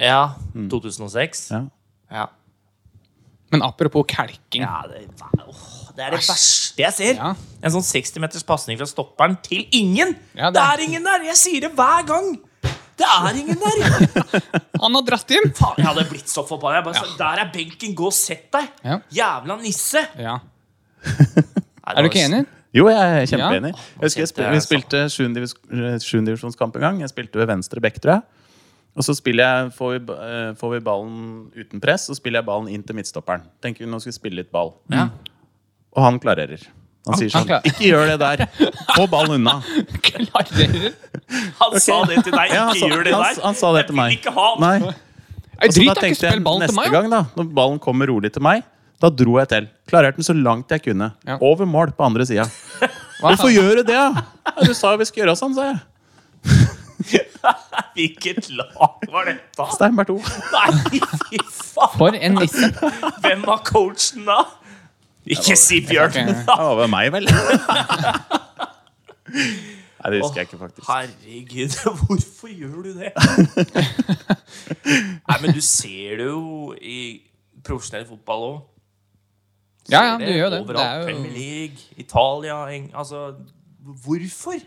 A: Ja.
B: Mm.
A: 2006.
B: Ja.
A: Ja.
C: Men apropos kalking.
A: Ja, det, åh, det er det verste jeg ser.
C: Ja.
A: En sånn 60 meters pasning fra stopperen til ingen!
C: Ja,
A: det...
C: det-
A: er ingen der! Jeg sier det hver gang! Det er ingen der!
C: Han har dratt inn!
A: Faen, jeg hadde blitt så forbanna. Jeg bare sa, Der er benken, gå og sett deg!
C: Ja.
A: Jævla nisse!
C: Ja.
A: Nei,
C: Er du
A: det
C: ikke
A: var- <laughs>
C: enig?
B: Jo, jeg er kjempeenig. Jeg husker jeg
A: kjente
B: spil, vi
A: jeg
B: spilte sjuendedivisjonskamp en gang. Jeg spilte ved venstre back, tror jeg. Og så spiller jeg, får, vi, ba- eh, får vi ballen uten press, så spiller jeg ballen inn til midtstopperen. Tenker vi nå skal vi spille litt ball.
A: Ja.
B: Og han klarerer. Han sier sånn
C: han klarer.
B: Ikke gjør det der! Få ballen
A: <laughs>
B: unna!
C: Klarer
A: Han sa det til deg.
B: Ja, han,
A: Ikke
B: sa,
A: gjør det
B: han,
A: der!
B: han sa det til meg.
A: Jeg vil ikke ha han.
B: Nei.
C: Jeg
B: Og så da
C: driter ikke
B: tenkte jeg
C: spill ballen til
B: neste
C: meg.
B: gang, da, når ballen kommer rolig til meg, da dro jeg til. Klarerte den så langt jeg kunne.
C: Ja.
B: Over mål på andre sida.
C: Hva
B: Hvorfor
C: faen?
B: gjør du det, da? Ja, du sa jo vi skulle gjøre sånn, sa jeg.
A: Hvilket lag var dette?
B: Steinberg 2.
A: Nei, fy faen!
C: For en nisse.
A: <laughs> Hvem var coachen da? Ikke si Bjørn!
C: Ok.
B: Det var vel meg, vel? <laughs> Nei, Nei, det husker jeg ikke, faktisk.
A: Herregud, <laughs> hvorfor gjør du
C: <laughs>
A: det? Nei, men du ser det jo i profesjonell fotball òg.
C: Ja, ja, du gjør det. Det
A: Overalt.
C: er
A: Premier
C: jo
A: League, Italia Eng Altså, hvorfor?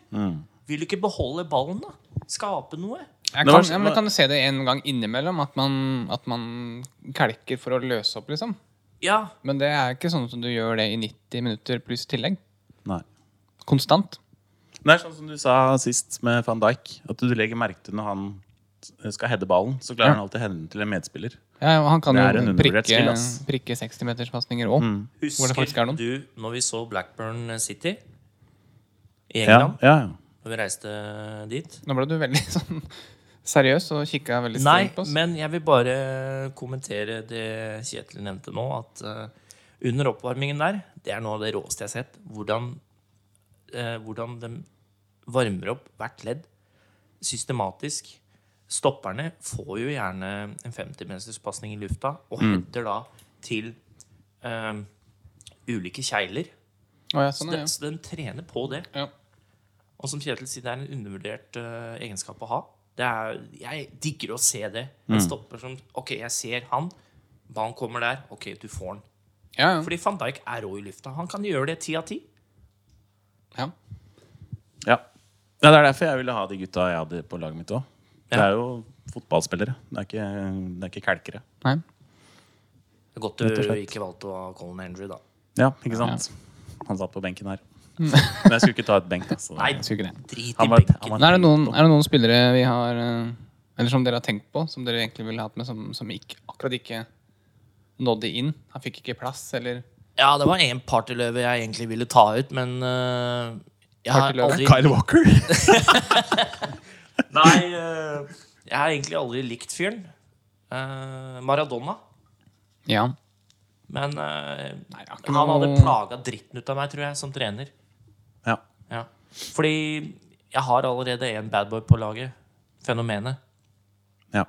A: Vil du ikke beholde ballen, da? Skape noe?
C: Jeg
B: Det var-
C: kan, ja, men jeg kan se det en gang innimellom, at man, at man kalker for å løse opp, liksom.
A: Ja.
C: Men det er ikke sånn som du gjør det i 90 minutter pluss tillegg.
B: Nei.
C: Konstant.
B: Det er sånn som du sa sist med van Dijk. At du legger merke til når han skal heade ballen, så klarer
C: Ja.
B: han alltid å heade den til en medspiller.
C: Ja, og han kan
B: Det er en
C: jo
B: undervurdert
C: prikke,
B: skill, ass. Mm.
C: prikke 60-meterspasninger òg. Hvor det faktisk
A: Husker
C: er noen.
A: du når vi så Blackburn City i
B: Ja,
A: England?
B: ja, ja.
A: Når vi reiste dit?
C: Nå ble du veldig <laughs> sånn seriøs og kikka veldig
A: Nei,
C: strengt på oss.
A: men jeg vil bare kommentere det Kjetil nevnte nå. At eh, under oppvarmingen der, det er noe av det råeste jeg har sett. Hvordan, eh, hvordan de varmer opp hvert ledd systematisk. Stopperne får jo gjerne en 50-meterspasning i lufta og header da til eh, ulike kjegler.
C: Å, ja,
A: Så,
C: sånn,
A: de,
C: er det,
A: så de trener på det.
C: ja. Ja.
A: Og som Kjetil sier, det er en undervurdert eh, egenskap å ha. Det er, jeg digger å se det.
B: Mm.
A: En stopper som Ok, jeg ser han. Ballen kommer der. Ok, du får den.
C: Ja, ja.
A: Fordi van Dijk er rå i lufta. Han kan gjøre det ti av ti.
C: ja.
B: Ja. ja, det er derfor jeg ville ha de gutta jeg hadde på laget mitt òg. Det
A: Ja.
B: er jo fotballspillere, det er ikke, det er ikke kalkere.
C: Nei.
A: Det er Godt
B: Rett og
A: du
B: slett.
A: ikke valgte å ha Colin Andrew, da.
B: Ja, ikke sant? Han satt på benken her. <laughs> Men jeg skulle ikke ta et benk, da. Så
A: Nei,
C: Jeg skulle ikke det.
A: drit i
B: Han var- han
A: benken.
B: var-
C: Men er det, noen, er det noen spillere vi har eh, Eller som dere har tenkt på, som dere egentlig ville hatt med, som, som ikke, akkurat ikke nådde inn? Han fikk ikke plass, eller
A: Ja, det var én partyløve jeg egentlig ville ta ut, men eh, jeg har
C: Partyløve?
A: aldri
B: Kyle Walker?
A: Nei, eh, jeg har egentlig aldri likt fyren. Eh, Maradona.
C: Ja.
A: Men eh,
C: Nei, det er ikke
A: han hadde
C: noe-
A: plaga dritten ut av meg, tror jeg, som trener.
B: <laughs> Ja.
A: Ja. Fordi jeg har allerede en badboy på laget. Fenomenet.
B: ja.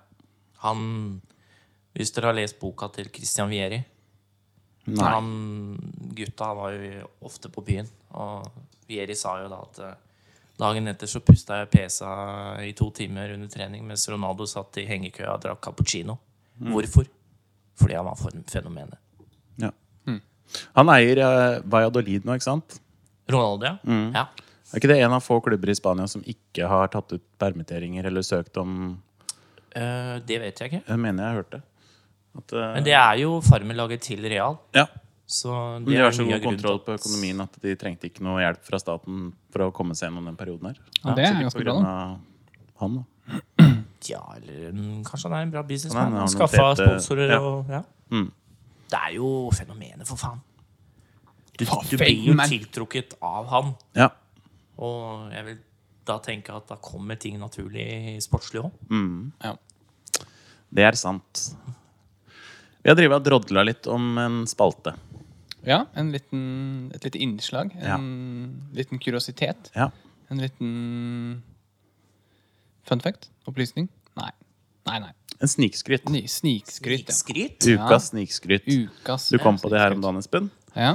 A: Han Hvis dere har lest boka til Christian Vieri
B: Nei.
A: Han gutta han var jo ofte på byen, og Vieri sa jo da at eh, dagen etter så pusta jeg pesa i to timer under trening mens Ronaldo satt i hengekøya og drakk cappuccino.
B: Mm.
A: Hvorfor? Fordi han var for fenomenet.
B: Ja. Han eier eh, Valladolid nå, ikke sant?
A: Ronaldo, ja.
B: Mm.
A: ja.
B: Er ikke det en av få klubber i Spania som ikke har tatt ut permitteringer eller søkt om
A: Eh, det vet jeg ikke.
B: Jeg mener jeg hørte. At, eh,
A: Men det er jo farmerlaget til Real.
B: ja.
A: Så det
B: De
A: er
B: har så
A: mye av grunnen
B: god
A: til
B: kontroll på
A: at-
B: økonomien at de trengte ikke noe hjelp fra staten for å komme seg gjennom den perioden her.
C: Ja, det er
B: Sikkert
C: ganske
B: på
C: bra,
B: grunn av han, da.
A: Ja, eller mm, kanskje han er en bra
B: Han
A: businessman.
B: er-
A: Han
B: han har noen
A: Skaffa
B: fete-
A: sponsorer
B: ja.
A: og ja.
B: Mm.
A: Det er jo fenomenet, for faen. Du,
C: For
A: du blir jo
C: faen, man.
A: tiltrukket av han.
B: Ja.
A: Og jeg vil da tenke at da kommer ting naturlig sportslig òg.
C: Ja.
B: Det er sant. Vi har drevet og drodla litt om en spalte.
C: ja en liten, et lite innslag. En
B: Ja.
C: liten kuriositet.
B: Ja.
C: En liten fun fact? Opplysning? Nei. Nei, nei.
B: En snikskryt.
C: Ny Snikskryt. ja.
A: Skryt?
B: Ukas snikskryt.
C: Ukas
B: Du kom
C: ja,
B: på det her om
C: snikskryt.
B: dagen, Espen.
C: Ja,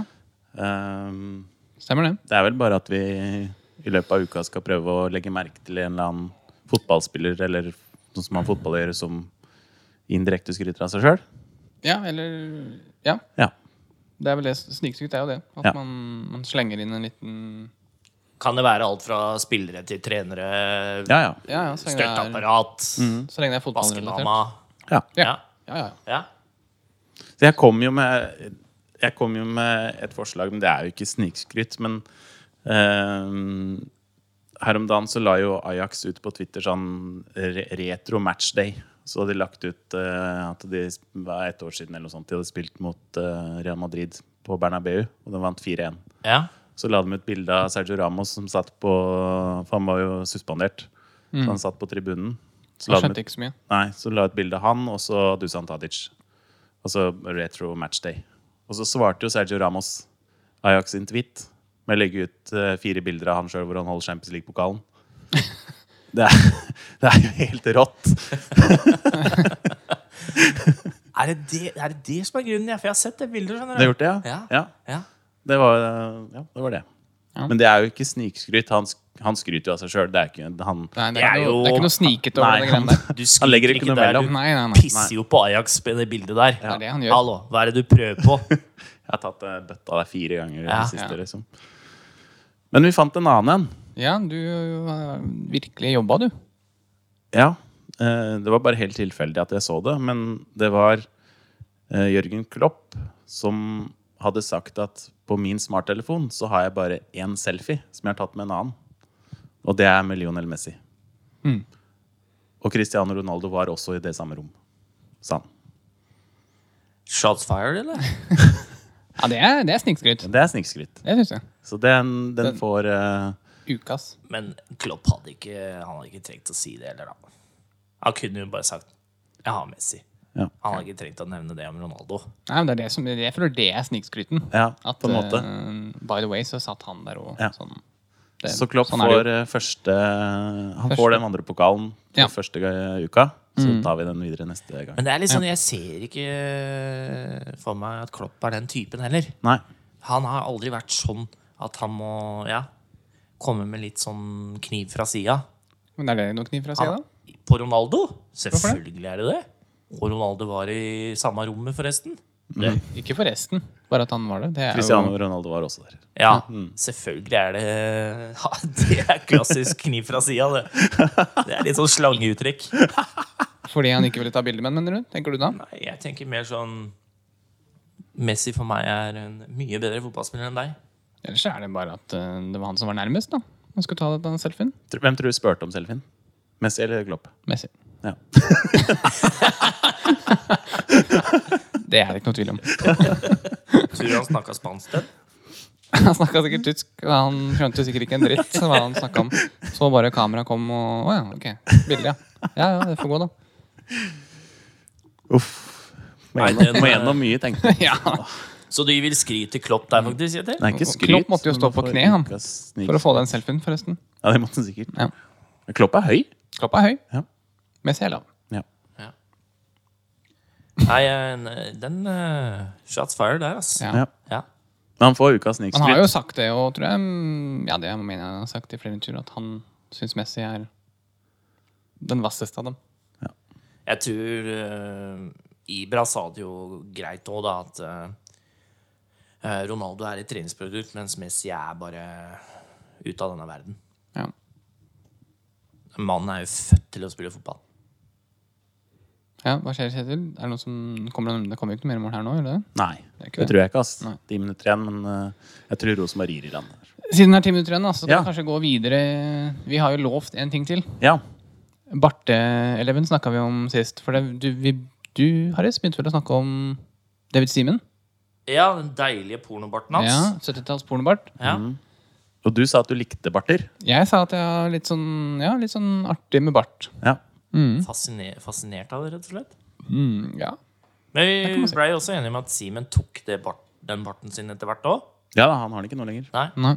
B: Ehm,
C: stemmer det.
B: det er vel bare at vi i løpet av uka skal prøve å legge merke til en eller annen fotballspiller eller noe som har fotball å gjøre, som indirekte skryter av seg sjøl.
C: Ja, eller Ja.
B: Ja.
C: Det er vel det. Snikskryt er jo det. At
B: Ja.
C: man, man slenger inn en liten
A: Kan det være alt fra spillere til trenere,
B: Ja, Mm. ja.
C: Ja, ja, så lenge det er, Mm,
A: støtteapparat,
C: så lenge det er fotballrelatert.
A: vaskedama
B: ja.
A: ja.
C: Ja. Ja, ja, ja.
A: ja.
B: Så jeg kom jo med Jeg kom jo med et forslag, men det er jo ikke snikskryt. Men eh, her om dagen så la jo Ajax ut på Twitter sånn re retro matchday. Så hadde de lagt ut eh, at de det var et år siden eller noe sånt, de hadde spilt mot eh, Real Madrid på Bernabeu, og de vant 4-1.
A: ja.
B: Så la de ut bilde av Sergio Ramos som satt på For han var jo suspendert. Så han satt på tribunen. Så la de ut
C: Jeg skjønte ikke så mye.
B: Nei, så la jeg et bilde av han, og så Dusan Tadic. Altså retro matchday. Og så svarte jo Sergio Ramos Ajax sin tweet med å legge ut eh, fire bilder av han sjøl hvor han holder Champions League-pokalen. Det er, <laughs> det er jo helt rått.
A: Er, det det, er det det som er grunnen? Ja, for jeg har sett det bildet. skjønner
B: Det har gjort det,
A: Ja.
B: ja? ja.
A: Ja.
B: Det var, ja, det var det.
C: Ja.
B: Men det er jo ikke snikskryt. Han, sk- han skryter jo av seg sjøl. Det er ikke han
C: Nei, det,
A: Det er
C: er ikke noe,
A: jo-
C: det er ikke noe snikete over
B: Nei,
C: det
B: han- <laughs>
C: greiene der.
A: Du
B: Han legger ikke
A: skriker
B: noe
A: der,
B: mellom.
A: du
C: Nei, nei, nei.
A: pisser jo på Ajax i det bildet der.
C: Det er det han gjør.
A: Hallo, hva er det du prøver på?
B: Jeg har tatt eh, bøtta der fire ganger i det
A: Ja.
B: siste,
C: Ja.
B: liksom. Men vi fant en annen en.
C: Ja, du har virkelig jobba, du.
B: Ja. eh, Det var bare helt tilfeldig at jeg så det. Men det var eh, Jørgen Klopp som hadde sagt at på min smarttelefon så har jeg bare én selfie som jeg har tatt med en annen. Og det er med Lionel Messi.
C: Hmm.
B: Og Cristiano Ronaldo var også i det samme rom, sa han.
A: <laughs> Shots fired, eller?
C: Ja, det er, det er snikskryt.
B: Men det er snikskryt.
C: Det syns jeg.
B: Så den, den
C: Den-
B: får eh,
C: Ukas.
A: Men Klopp hadde ikke, han hadde ikke trengt å si det heller, da. Han kunne jo bare sagt 'jeg har Messi'.
B: Ja.
A: Han hadde ikke trengt å nevne det om Ronaldo.
C: Nei, men det er det som, jeg føler det er snikskryten.
B: Ja,
C: At,
B: på en måte.
C: eh, by the way, så satt han der og
B: Ja.
C: sånn. Det-
B: Så Klopp
C: sånn er
B: får
C: det jo.
B: eh, første Han
C: Første.
B: får den andre pokalen på
C: Ja. Hmm.
B: første eh, uka. Så tar vi den videre neste gang.
A: Men det er litt sånn, jeg ser ikke for meg at Klopp er den typen heller.
B: Nei.
A: Han har aldri vært sånn at han må ja, komme med litt sånn kniv fra sida.
C: Men er det noe kniv fra sida?
A: Han- På Ronaldo? Selvfølgelig er det det. Og Ronaldo var i samme rommet, forresten.
C: Ikke for resten, bare at han var det. det er
B: Cristiano
C: jo,
B: Ronaldo var også der.
A: Ja, selvfølgelig er det <laughs> ja, Det er klassisk kniv fra sida, det. Det er litt sånn slangeuttrykk.
C: fordi han ikke ville ta bilde med den, mener du? Tenker du da?
A: Nei, jeg tenker mer sånn Messi for meg er en mye bedre fotballspiller enn deg.
C: Ellers er det bare at eh, det var han som var nærmest, da. Han skulle ta den selfien.
B: Tr- Hvem tror du spurte om selfien? Messi eller Klopp?
C: Messi.
B: Ja.
C: Det er det ikke noe tvil om. <laughs>
A: Tror du han snakka spansk den?
C: Han snakka sikkert tysk, og han skjønte sikkert ikke en dritt hva han snakka om. Så bare kameraet kom, og Å ja, ok. Bilde, ja. Ja, ja, det får gå, da. <laughs>
B: Uff. Må
A: Nei,
B: gjennom,
A: den,
B: må
A: eh,
B: gjennom mye,
C: <laughs>
B: tenkte jeg.
C: Ja.
A: Så du vil skryte Klopp der, faktisk? Kjetil?
B: Det er ikke
C: Og
B: skryt.
C: Klopp måtte jo
B: men
C: stå
B: man
C: på
B: får
C: kne, han,
B: ukas snik-
C: For å få den selfien, forresten.
B: Ja, det måtte han sikkert.
C: Ja.
B: Men Klopp er høy.
C: Klopp er høy.
B: Ja.
C: Messi er lav.
B: Ja.
A: Nei, eh, den eh, Shots fired der, altså.
C: Ja.
B: Ja.
A: Ja.
B: Men han får ukas
C: Han har jo
B: snikskryt.
C: sagt det, og tror jeg mm, Ja, det mener jeg han har sagt i flere turer, at han syns Messi er den vasseste av dem.
A: Jeg tror eh, Ibra sa det jo greit òg, da, at eh, eh, Ronaldo er et treningsprodukt, mens Messi er bare ute av denne verden.
C: Ja.
A: Mannen er jo født til å spille fotball.
C: ja hva skjer, Kjetil? Er det noe som kommer det kommer jo ikke noe mer mål her nå? gjør det det?
B: Nei,
C: Det er ikke
B: det
C: det.
B: tror jeg ikke. ass.
C: Nei.
B: Ti minutter igjen, men eh, jeg tror Rosenborg rir i land. her.
C: Siden det er ti minutter igjen, da, så kan
B: Ja.
C: vi kanskje gå videre. Vi har jo lovt en ting til.
B: Ja.
C: Barthe-eleven snakka vi om sist. For det, du, vi, du Harris, begynte vel å snakke om David Simen?
A: Ja, den deilige pornobarten hans.
C: Ja, 70-talls pornobart.
A: Ja.
B: Og du sa at du likte barter.
C: Jeg sa at jeg har litt sånn, ja, litt sånn artig med bart.
B: Ja. Mm.
A: Fasciner, fascinert av det, rett og slett.
C: Mm, ja.
A: Men vi blei også enige om at Simen tok det bart, den barten sin etter hvert òg.
B: ja da, han har den ikke nå lenger.
A: Nei.
C: Nei.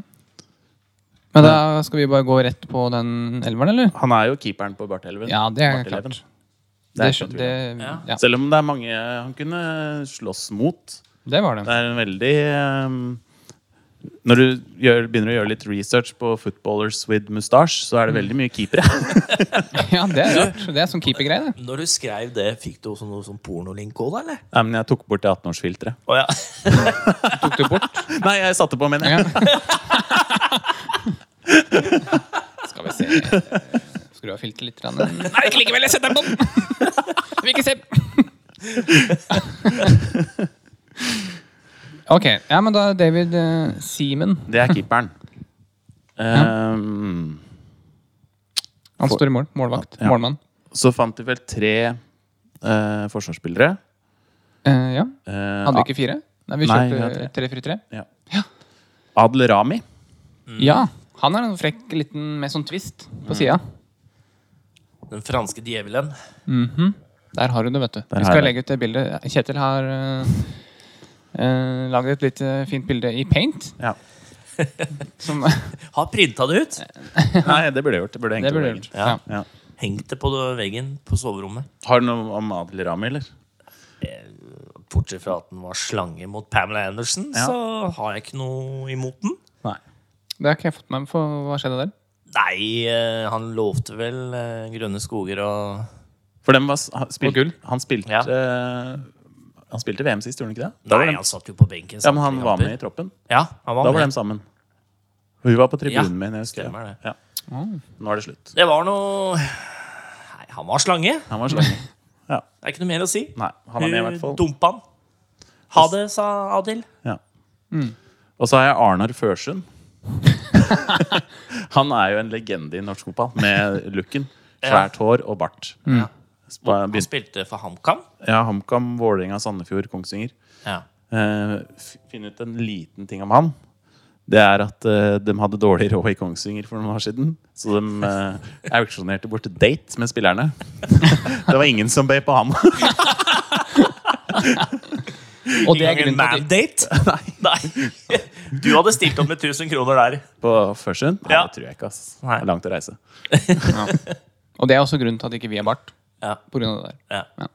C: Men da skal vi bare gå rett på den elveren, eller?
B: Han er jo keeperen på Bartelven.
C: Ja, det er
B: Barteleven.
C: klart.
B: Det er ikke
C: Det,
B: noe
C: skjø-
B: tvil
C: det,
A: Ja.
C: ja,
B: Selv om det er mange han kunne slåss mot.
C: det var det.
B: Det er en veldig ehm, Når du gjør, begynner å gjøre litt research på footballers with mustache, så er det veldig mye keepere.
C: Mm. <laughs> Ja, det er rart. Det er sånn keepergreie, det.
A: Når du skrev det, fikk du også noe sånn pornolink òg, da, eller?
B: Nei, men jeg tok bort det 18-årsfilteret.
A: Å ja. <laughs>
C: Tok du bort?
B: Nei, jeg satte på, mener jeg.
C: Ja. Skal vi se Skru av filteret litt. grann. Nei, ikke likevel! Jeg setter den på! Jeg Vil ikke se! <laughs> Ok. Ja, men da David eh, Seaman.
B: Det er keeperen. Ehm,
C: Han står i mål. Målvakt.
B: Ja.
C: Målmann.
B: så fant de vel tre eh, forsvarsspillere.
C: Eh, ja.
B: Eh,
C: Hadde vi ikke fire? Nei, vi
B: Nei, vi har
C: kjørte
B: tre.
C: 3-4-3.
B: Ja. Adel Rami.
C: Ja. Han er en frekk liten med sånn twist på sida.
A: Den franske djevelen.
C: Mhm. Der har du det, vet du.
B: Der
C: vi
B: har
C: skal
B: jeg
C: legge ut det bildet. Kjetil har uh, laget et litt eh, fint bilde i paint.
B: Ja.
C: Som, <laughs>
A: Har printa det ut.
B: Nei, det burde jeg gjort. Det burde jeg
C: det
B: hengt
C: burde
B: over
C: du gjort.
B: veggen.
C: Ja.
B: Ja.
A: Hengt det på veggen på soverommet.
B: Har du noe om Adel Rami, eller?
A: Bortsett fra at den var slange mot Pamela Anderson,
B: Ja.
A: så har jeg ikke noe imot den.
B: Nei.
C: Det har ikke jeg fått med meg. For hva skjedde der?
A: Nei, eh, han lovte vel eh, grønne skoger og
B: For dem var, s- han,
C: Og
B: spilt,
C: gull.
B: han, spilte,
A: Ja.
B: eh, han spilte VM sist, gjorde han ikke det? Da var
A: Nei,
B: dem-
A: han satt jo på benken.
B: ja, men han
A: samtlige
B: var
A: kamper.
B: med i troppen.
A: Ja, han var
B: Da var
A: med.
B: de sammen. Hun var på
A: Ja,
B: tribunen min. jeg husker
A: stemmer det.
B: Ja. Nå er det slutt.
A: Det var noe Nei, han var slange. Det
B: Han var slemme.
A: Mm.
B: Ja.
A: er ikke noe mer å si.
B: Nei, han er med i hvert fall.
A: Dumpa han. Ha det, sa Adil.
B: Ja.
A: Mm.
B: Og så har jeg Arnar Førsund. <laughs> han er jo en legende i norsk fotball, med looken. Svært hår og bart.
A: Mm.
B: Spa-
A: Han
B: begynte-
A: spilte for HamKam.
B: Ja, HamKam, Vålerenga, Sandefjord, Kongsvinger.
A: Ja.
B: Eh, f- finne ut en liten ting om han. Det er at eh, de hadde dårlig råd i Kongsvinger for noen år siden. Så de eh, auksjonerte bort et date med spillerne. <laughs> det var ingen som bød på han.
C: Og det er
A: Ingen
C: grunnen til at de,
A: <laughs> mandate? Nei. Du hadde stilt opp med 1000 kroner der.
B: <laughs> på Førsund? Nei,
A: Ja.
B: det tror jeg ikke. ass. Det
A: Nei.
B: er langt å reise.
C: og det er også grunnen til at ikke vi er bart.
A: Ja.
C: På grunn av det der.
A: Ja.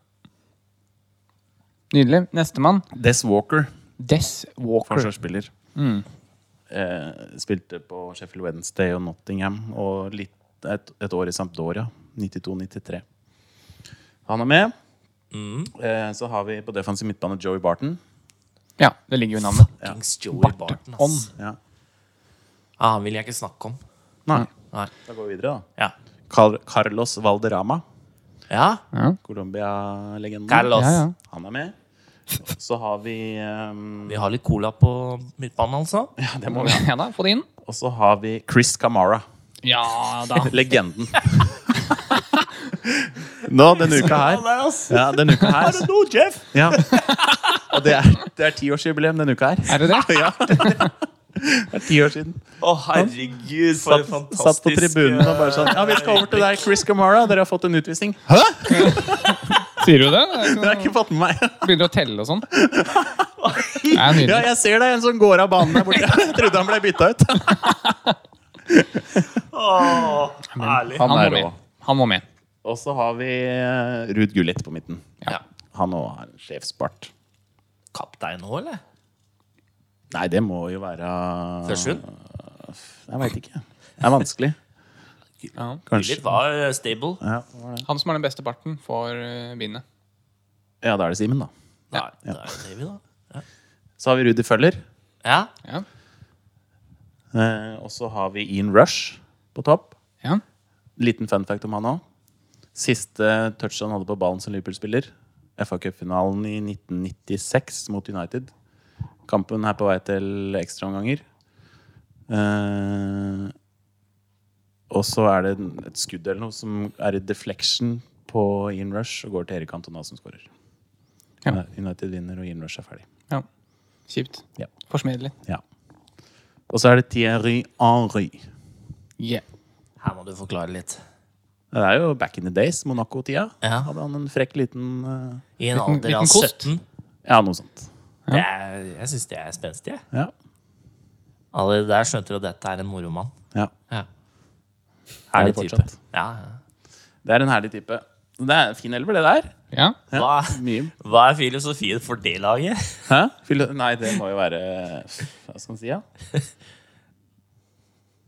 C: Nydelig. Nestemann.
B: Des Walker,
C: Des Walker.
B: forsvarsspiller.
A: Mm.
B: Eh, spilte på Sheffield Wednesday og Nottingham og litt, et, et år i Sampdoria. 92-93. Han er med.
A: Mm.
B: Eh, så har vi på defensiv midtbane Joey Barton.
C: Ja, det ligger jo i navnet.
A: Kings Joey Barton, ass.
B: Ja.
A: Ja, han vil jeg ikke snakke om.
B: Nei.
A: Nei.
B: Da går vi videre, da.
A: Ja.
B: Car Carlos Valderama,
A: ja.
B: Colombia-legenden.
A: Carlos.
C: Ja, ja.
B: Han er med. Så har vi ehm,
A: Vi har litt cola på midtbanen, altså.
B: Ja, det må vi ha.
C: Ja da, få det inn.
B: Og så har vi Chris Camara.
C: Ja da.
B: Legenden. <laughs> Nå, denne uka her Ja, denne uka her
A: det noe, Jeff?
B: ja. Og det er, det er tiårsjubileum denne uka her.
C: Er det det?
B: Ja, det er ti år siden.
A: Å, herregud, for
B: Satt,
A: en fantastisk
B: satt på tribunen og bare sånn Ja, vi skal over til deg, Chris Camara. Dere har fått en utvisning. Hæ?
C: Sier du det?
B: Dere har ikke fått med meg.
C: Begynner å telle og sånn. Det er
B: Ja,
C: nydelig.
B: jeg ser det. En som går av banen der borte. Jeg trodde han ble bytta ut.
A: Åh, herlig.
C: Han
B: er
C: må
B: rå.
C: med. Han må med.
B: Og så har vi eh, Ruud Gullit på midten.
A: Ja.
B: Han òg har en sjefsbart.
A: Kaptein nå, eller?
B: Nei, det må jo være
A: Førsund?
B: Jeg veit ikke. Det er vanskelig.
C: Ja.
B: Kanskje.
A: Gullit var eh, stable.
B: Ja, det var det.
C: Han som har den beste barten, får eh, vinne.
B: ja, da er det Simen, da.
A: Nei, det er jo Davy, da.
B: Så har vi Rudi Føller.
A: Ja.
C: Ja.
B: Eh, og så har vi Ian Rush på topp.
C: ja.
B: Liten fun fact om han òg. Siste touch han hadde på ballen som Liverpool-spiller. FA Cup-finalen i 1996 mot United. Kampen er på vei til ekstraomganger. Eh, og så er det en- et skudd eller noe som er i deflection på Ian Rush og går til Erik Antona som skårer.
C: Ja.
B: Eh, United vinner, og Ian Rush er ferdig.
C: ja. Kjipt.
B: Ja.
C: Forsmedelig.
B: Ja. Og så er det Thierry Henry.
C: Yeah.
A: Her må du forklare litt.
B: Det er jo back in the days, Monaco-tida.
A: Ja.
B: Hadde han en frekk liten eh,
A: I en
C: Liten-
A: alder av
C: liten kost.
A: 17.
B: Ja, noe sånt.
A: Det er, jeg syns det er spenstig. jeg.
B: Ja.
A: Alle der skjønte jo at dette er en moromann.
B: ja.
A: Ja.
B: Er
A: Herlig
B: det
A: type.
B: fortsatt?
A: Ja, ja.
B: Det er en herlig type. Det er en fin elver, det der.
C: Ja.
A: Hva,
B: Mye.
A: hva er filosofien for det laget? <laughs>
B: Hæ? Filo- Nei, det må jo være Hva skal man si, ja?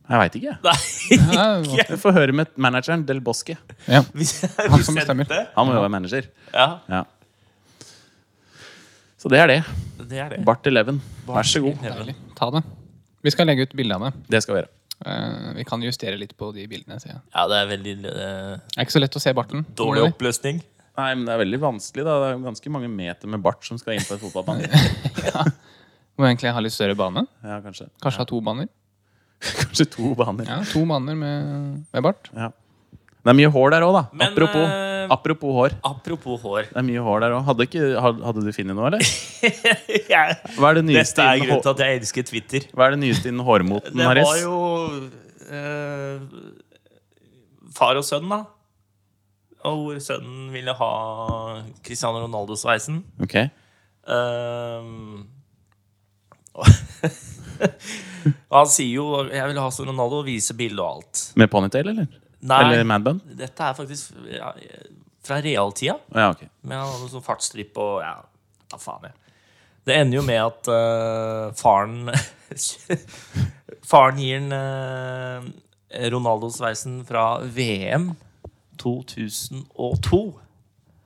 B: Jeg veit ikke.
A: Nei,
C: Ja, det
B: Vi får høre med manageren Del Bosque.
C: var- ja.
A: vi,
C: Han
A: vi
C: som
A: sendte-
C: bestemmer.
B: Han må jo være manager.
A: Ja,
B: Ja. Så det er det.
A: det er det.
B: Bart Eleven, vær så god.
C: Deilig. Ta det. Vi skal legge ut bildene.
B: Det skal vi gjøre.
C: Eh, vi kan justere litt på de bildene. sier jeg.
A: Ja, det er veldig eh,
C: Det er ikke så lett å se barten.
A: dårlig oppløsning.
B: Nei, men Det er veldig vanskelig. da Det er ganske mange meter med bart som skal inn på et fotballbane.
C: Må egentlig ha litt større bane.
B: Ja, kanskje.
C: Kanskje ha to baner.
B: kanskje to baner.
C: Ja, to baner med, med bart.
B: Ja. Det er mye hår der òg, da.
A: Men,
B: apropos,
A: eh,
B: apropos hår.
A: Apropos hår. <laughs>
B: Det er mye hår der òg. Hadde, ikke- had- hadde du funnet noe, eller?
A: Jeg,
B: Hva er det nyeste
A: dette er
B: innen,
A: grunnen til
B: hår,
A: at jeg elsker Twitter.
B: hva er det nyeste innen
A: Det
B: hårmoten,
A: var
B: Haris?
A: jo eh, far og sønn, da. Og hvor sønnen ville ha Cristiano Ronaldo-sveisen.
B: Ok.
A: Ehm, og <laughs> og han sier jo 'jeg vil ha som Ronaldo' og viser bilde og alt.
B: Med ponytail, eller?
A: Nei,
B: Eller manbun?
A: dette er faktisk ja, fra realtida.
B: Ja, ok.
A: Men han hadde sånn fartsstripp og ja, hva faen jeg. Det ender jo med at eh, faren <laughs> Faren gir den eh, Ronaldo-sveisen fra VM 2002.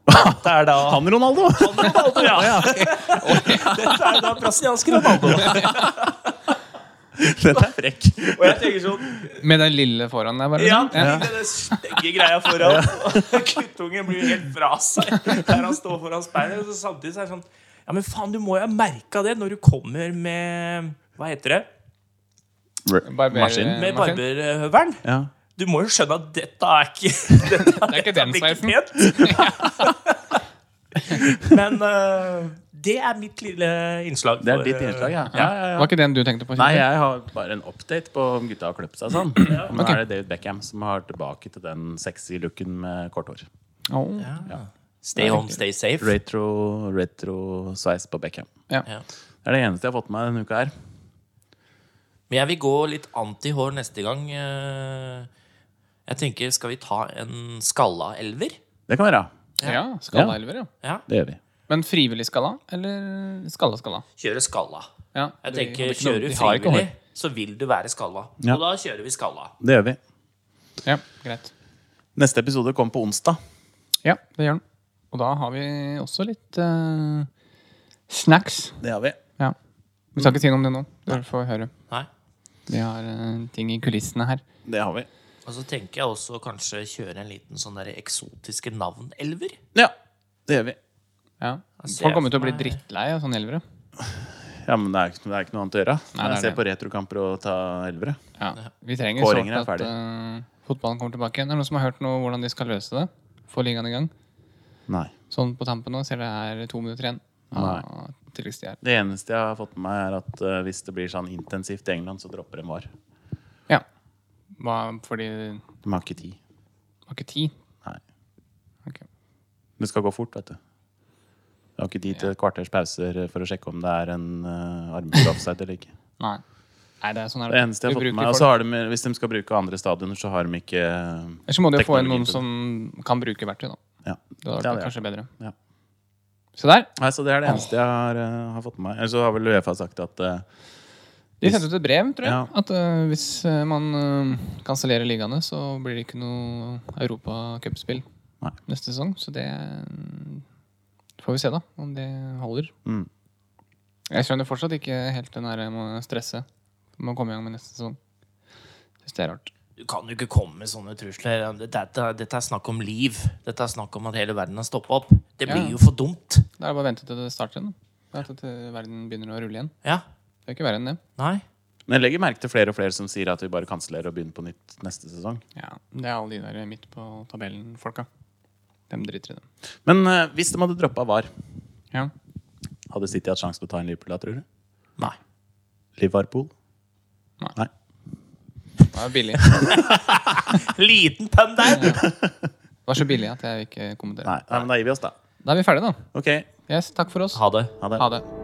A: Det er da
B: Han Ronaldo!
A: Han Ronaldo,
B: <laughs>
A: ja! Dette er da brasiliansk Ronaldo.
B: Den er frekk.
A: Og jeg tenker sånn
C: Med den lille foran der, bare?
A: Ja,
C: liksom?
A: tenk deg den stygge greia foran. Og Guttungen blir jo helt fra seg der han står foran speilet. Og så samtidig så er det sånn Ja, men faen, du må jo ha merka det når du kommer med Hva heter det?
C: Barber-
B: Maskin.
A: Med
C: maskin.
A: barberhøvelen.
B: Ja.
A: Du må jo skjønne at dette er ikke dette,
C: Det er ikke
A: dette
C: den
A: blir
C: sveisen. <laughs>
A: pent. Men eh, det er mitt lille innslag.
B: Det er
A: for,
B: ditt
A: eh,
B: innslag, ja.
A: ja.
C: Var ikke den du tenkte på?
B: Nei,
C: Kjetil?
B: jeg har bare en update på om gutta har klippet seg sånn. Men nå
C: Ok.
B: er det David Beckham som har tilbake til den sexy looken med kort hår.
C: Åh.
A: Stay home, stay safe.
B: Retro, retro sveis på Beckham.
A: Ja.
B: Det er det eneste jeg har fått med meg denne uka her.
A: Men jeg vil gå litt anti-hår neste gang. eh, Jeg tenker, skal vi ta en skalla elver?
B: Det kan være.
C: ja. Skalla elver, ja.
A: Ja.
B: Det gjør vi.
C: Men frivillig skalla, eller skalla skalla?
A: Kjøre skalla.
C: Ja.
A: Jeg
C: de- de
A: tenker,
C: har ikke noe-
A: kjører du
C: de har ikke hår.
A: frivillig, så vil du være skalla.
B: Ja.
A: Og da kjører vi skalla.
B: Det gjør vi.
C: Ja, greit.
B: Neste episode kommer på onsdag.
C: Ja, det gjør den. Og da har vi også litt eh, snacks.
B: Det har vi.
C: Ja. Vi skal ikke si noe om det nå. Dere får høre.
A: Nei.
C: Vi har eh, ting i kulissene her.
B: Det har vi.
A: Og så tenker jeg også kanskje kjøre en liten sånn der eksotiske navn-elver.
B: Ja, det gjør vi.
C: Ja.
A: Altså, jeg
C: Folk kommer til å
A: for
C: bli
A: meg-
C: drittlei av sånne elvere.
B: Ja, men det er, ikke- det er ikke noe annet å gjøre.
C: Nei, det er
B: jeg ser
C: det.
B: på retrokamper og ta elvere.
C: Ja. Vi trenger sårt
B: Kåringen er
C: at eh, fotballen kommer tilbake igjen. Er det noen som har hørt noe om hvordan de skal løse det? Få ligaen i gang?
B: Nei.
C: Sånn på tampen nå, ser det er to minutter igjen.
B: Nei.
C: av tilleggstid her.
B: Det eneste jeg har fått med meg, er at eh, hvis det blir sånn intensivt i England, så dropper de VAR.
C: Ja. Hva, fordi det
B: De har ikke tid.
C: var ikke tid.
B: Nei.
C: Ok.
B: Det skal gå fort, vet du. De har ikke tid til et kvarters pauser for å sjekke om det er en uh,
C: <laughs>
B: armhule offside eller ikke.
C: Nei. Nei, det er sånn her.
B: Det eneste jeg har
C: Du
B: fått med
C: bruker
B: meg, altså, og
C: folk.
B: så har de, Hvis de skal bruke andre stadioner, så har de ikke eh,
C: Ellers så må du jo få
B: teknologien
C: inn noen
B: til
C: som kan bruke verktøy, da.
B: ja.
C: Det hadde vært
B: Ja, det er.
C: kanskje bedre.
B: Ja.
C: Se der.
B: Nei, så Det er det eneste jeg har, eh, har fått med meg. Eller så har vel Uefa sagt at eh,
C: De sendte ut et brev, tror jeg.
B: Ja.
C: At eh, hvis eh, man eh, kansellerer ligaene, så blir det ikke noe europacupspill
B: Nei.
C: neste sesong. Så det eh, får vi se, da, om det holder.
B: Mm.
C: Jeg skjønner fortsatt ikke helt den der med å stresse med å komme i gang med neste sesong. Syns det er rart.
A: Du kan jo ikke komme med sånne trusler. Dette, dette er snakk om liv. Dette er snakk om at hele verden har stoppa opp. Det blir
C: Ja.
A: jo for dumt.
C: Da er det bare å vente til det starter igjen. da. Vente til verden begynner å rulle igjen.
A: Ja.
C: Det er ikke verre enn det.
A: Nei.
B: Men jeg legger merke til flere og flere som sier at vi bare kansellerer og begynner på nytt neste sesong.
C: Ja, Det er alle de der midt på tabellen-folka. Dem driter i det.
B: Men eh, hvis de hadde droppa VAR,
C: Ja.
B: hadde City hatt sjanse til å ta en Liverpool da, tror du?
A: Nei.
B: Liverpool?
C: Nei.
B: Nei.
C: Det var <laughs> billig. Det
A: <laughs> Liten pønn der!
C: var så billig at jeg ikke kommenterer.
B: Nei. Nei, men da gir vi oss, da.
C: Da er vi ferdige, da.
B: Ok,
C: Yes, takk for oss.
A: Ha det.
B: ha det.
C: Ha det.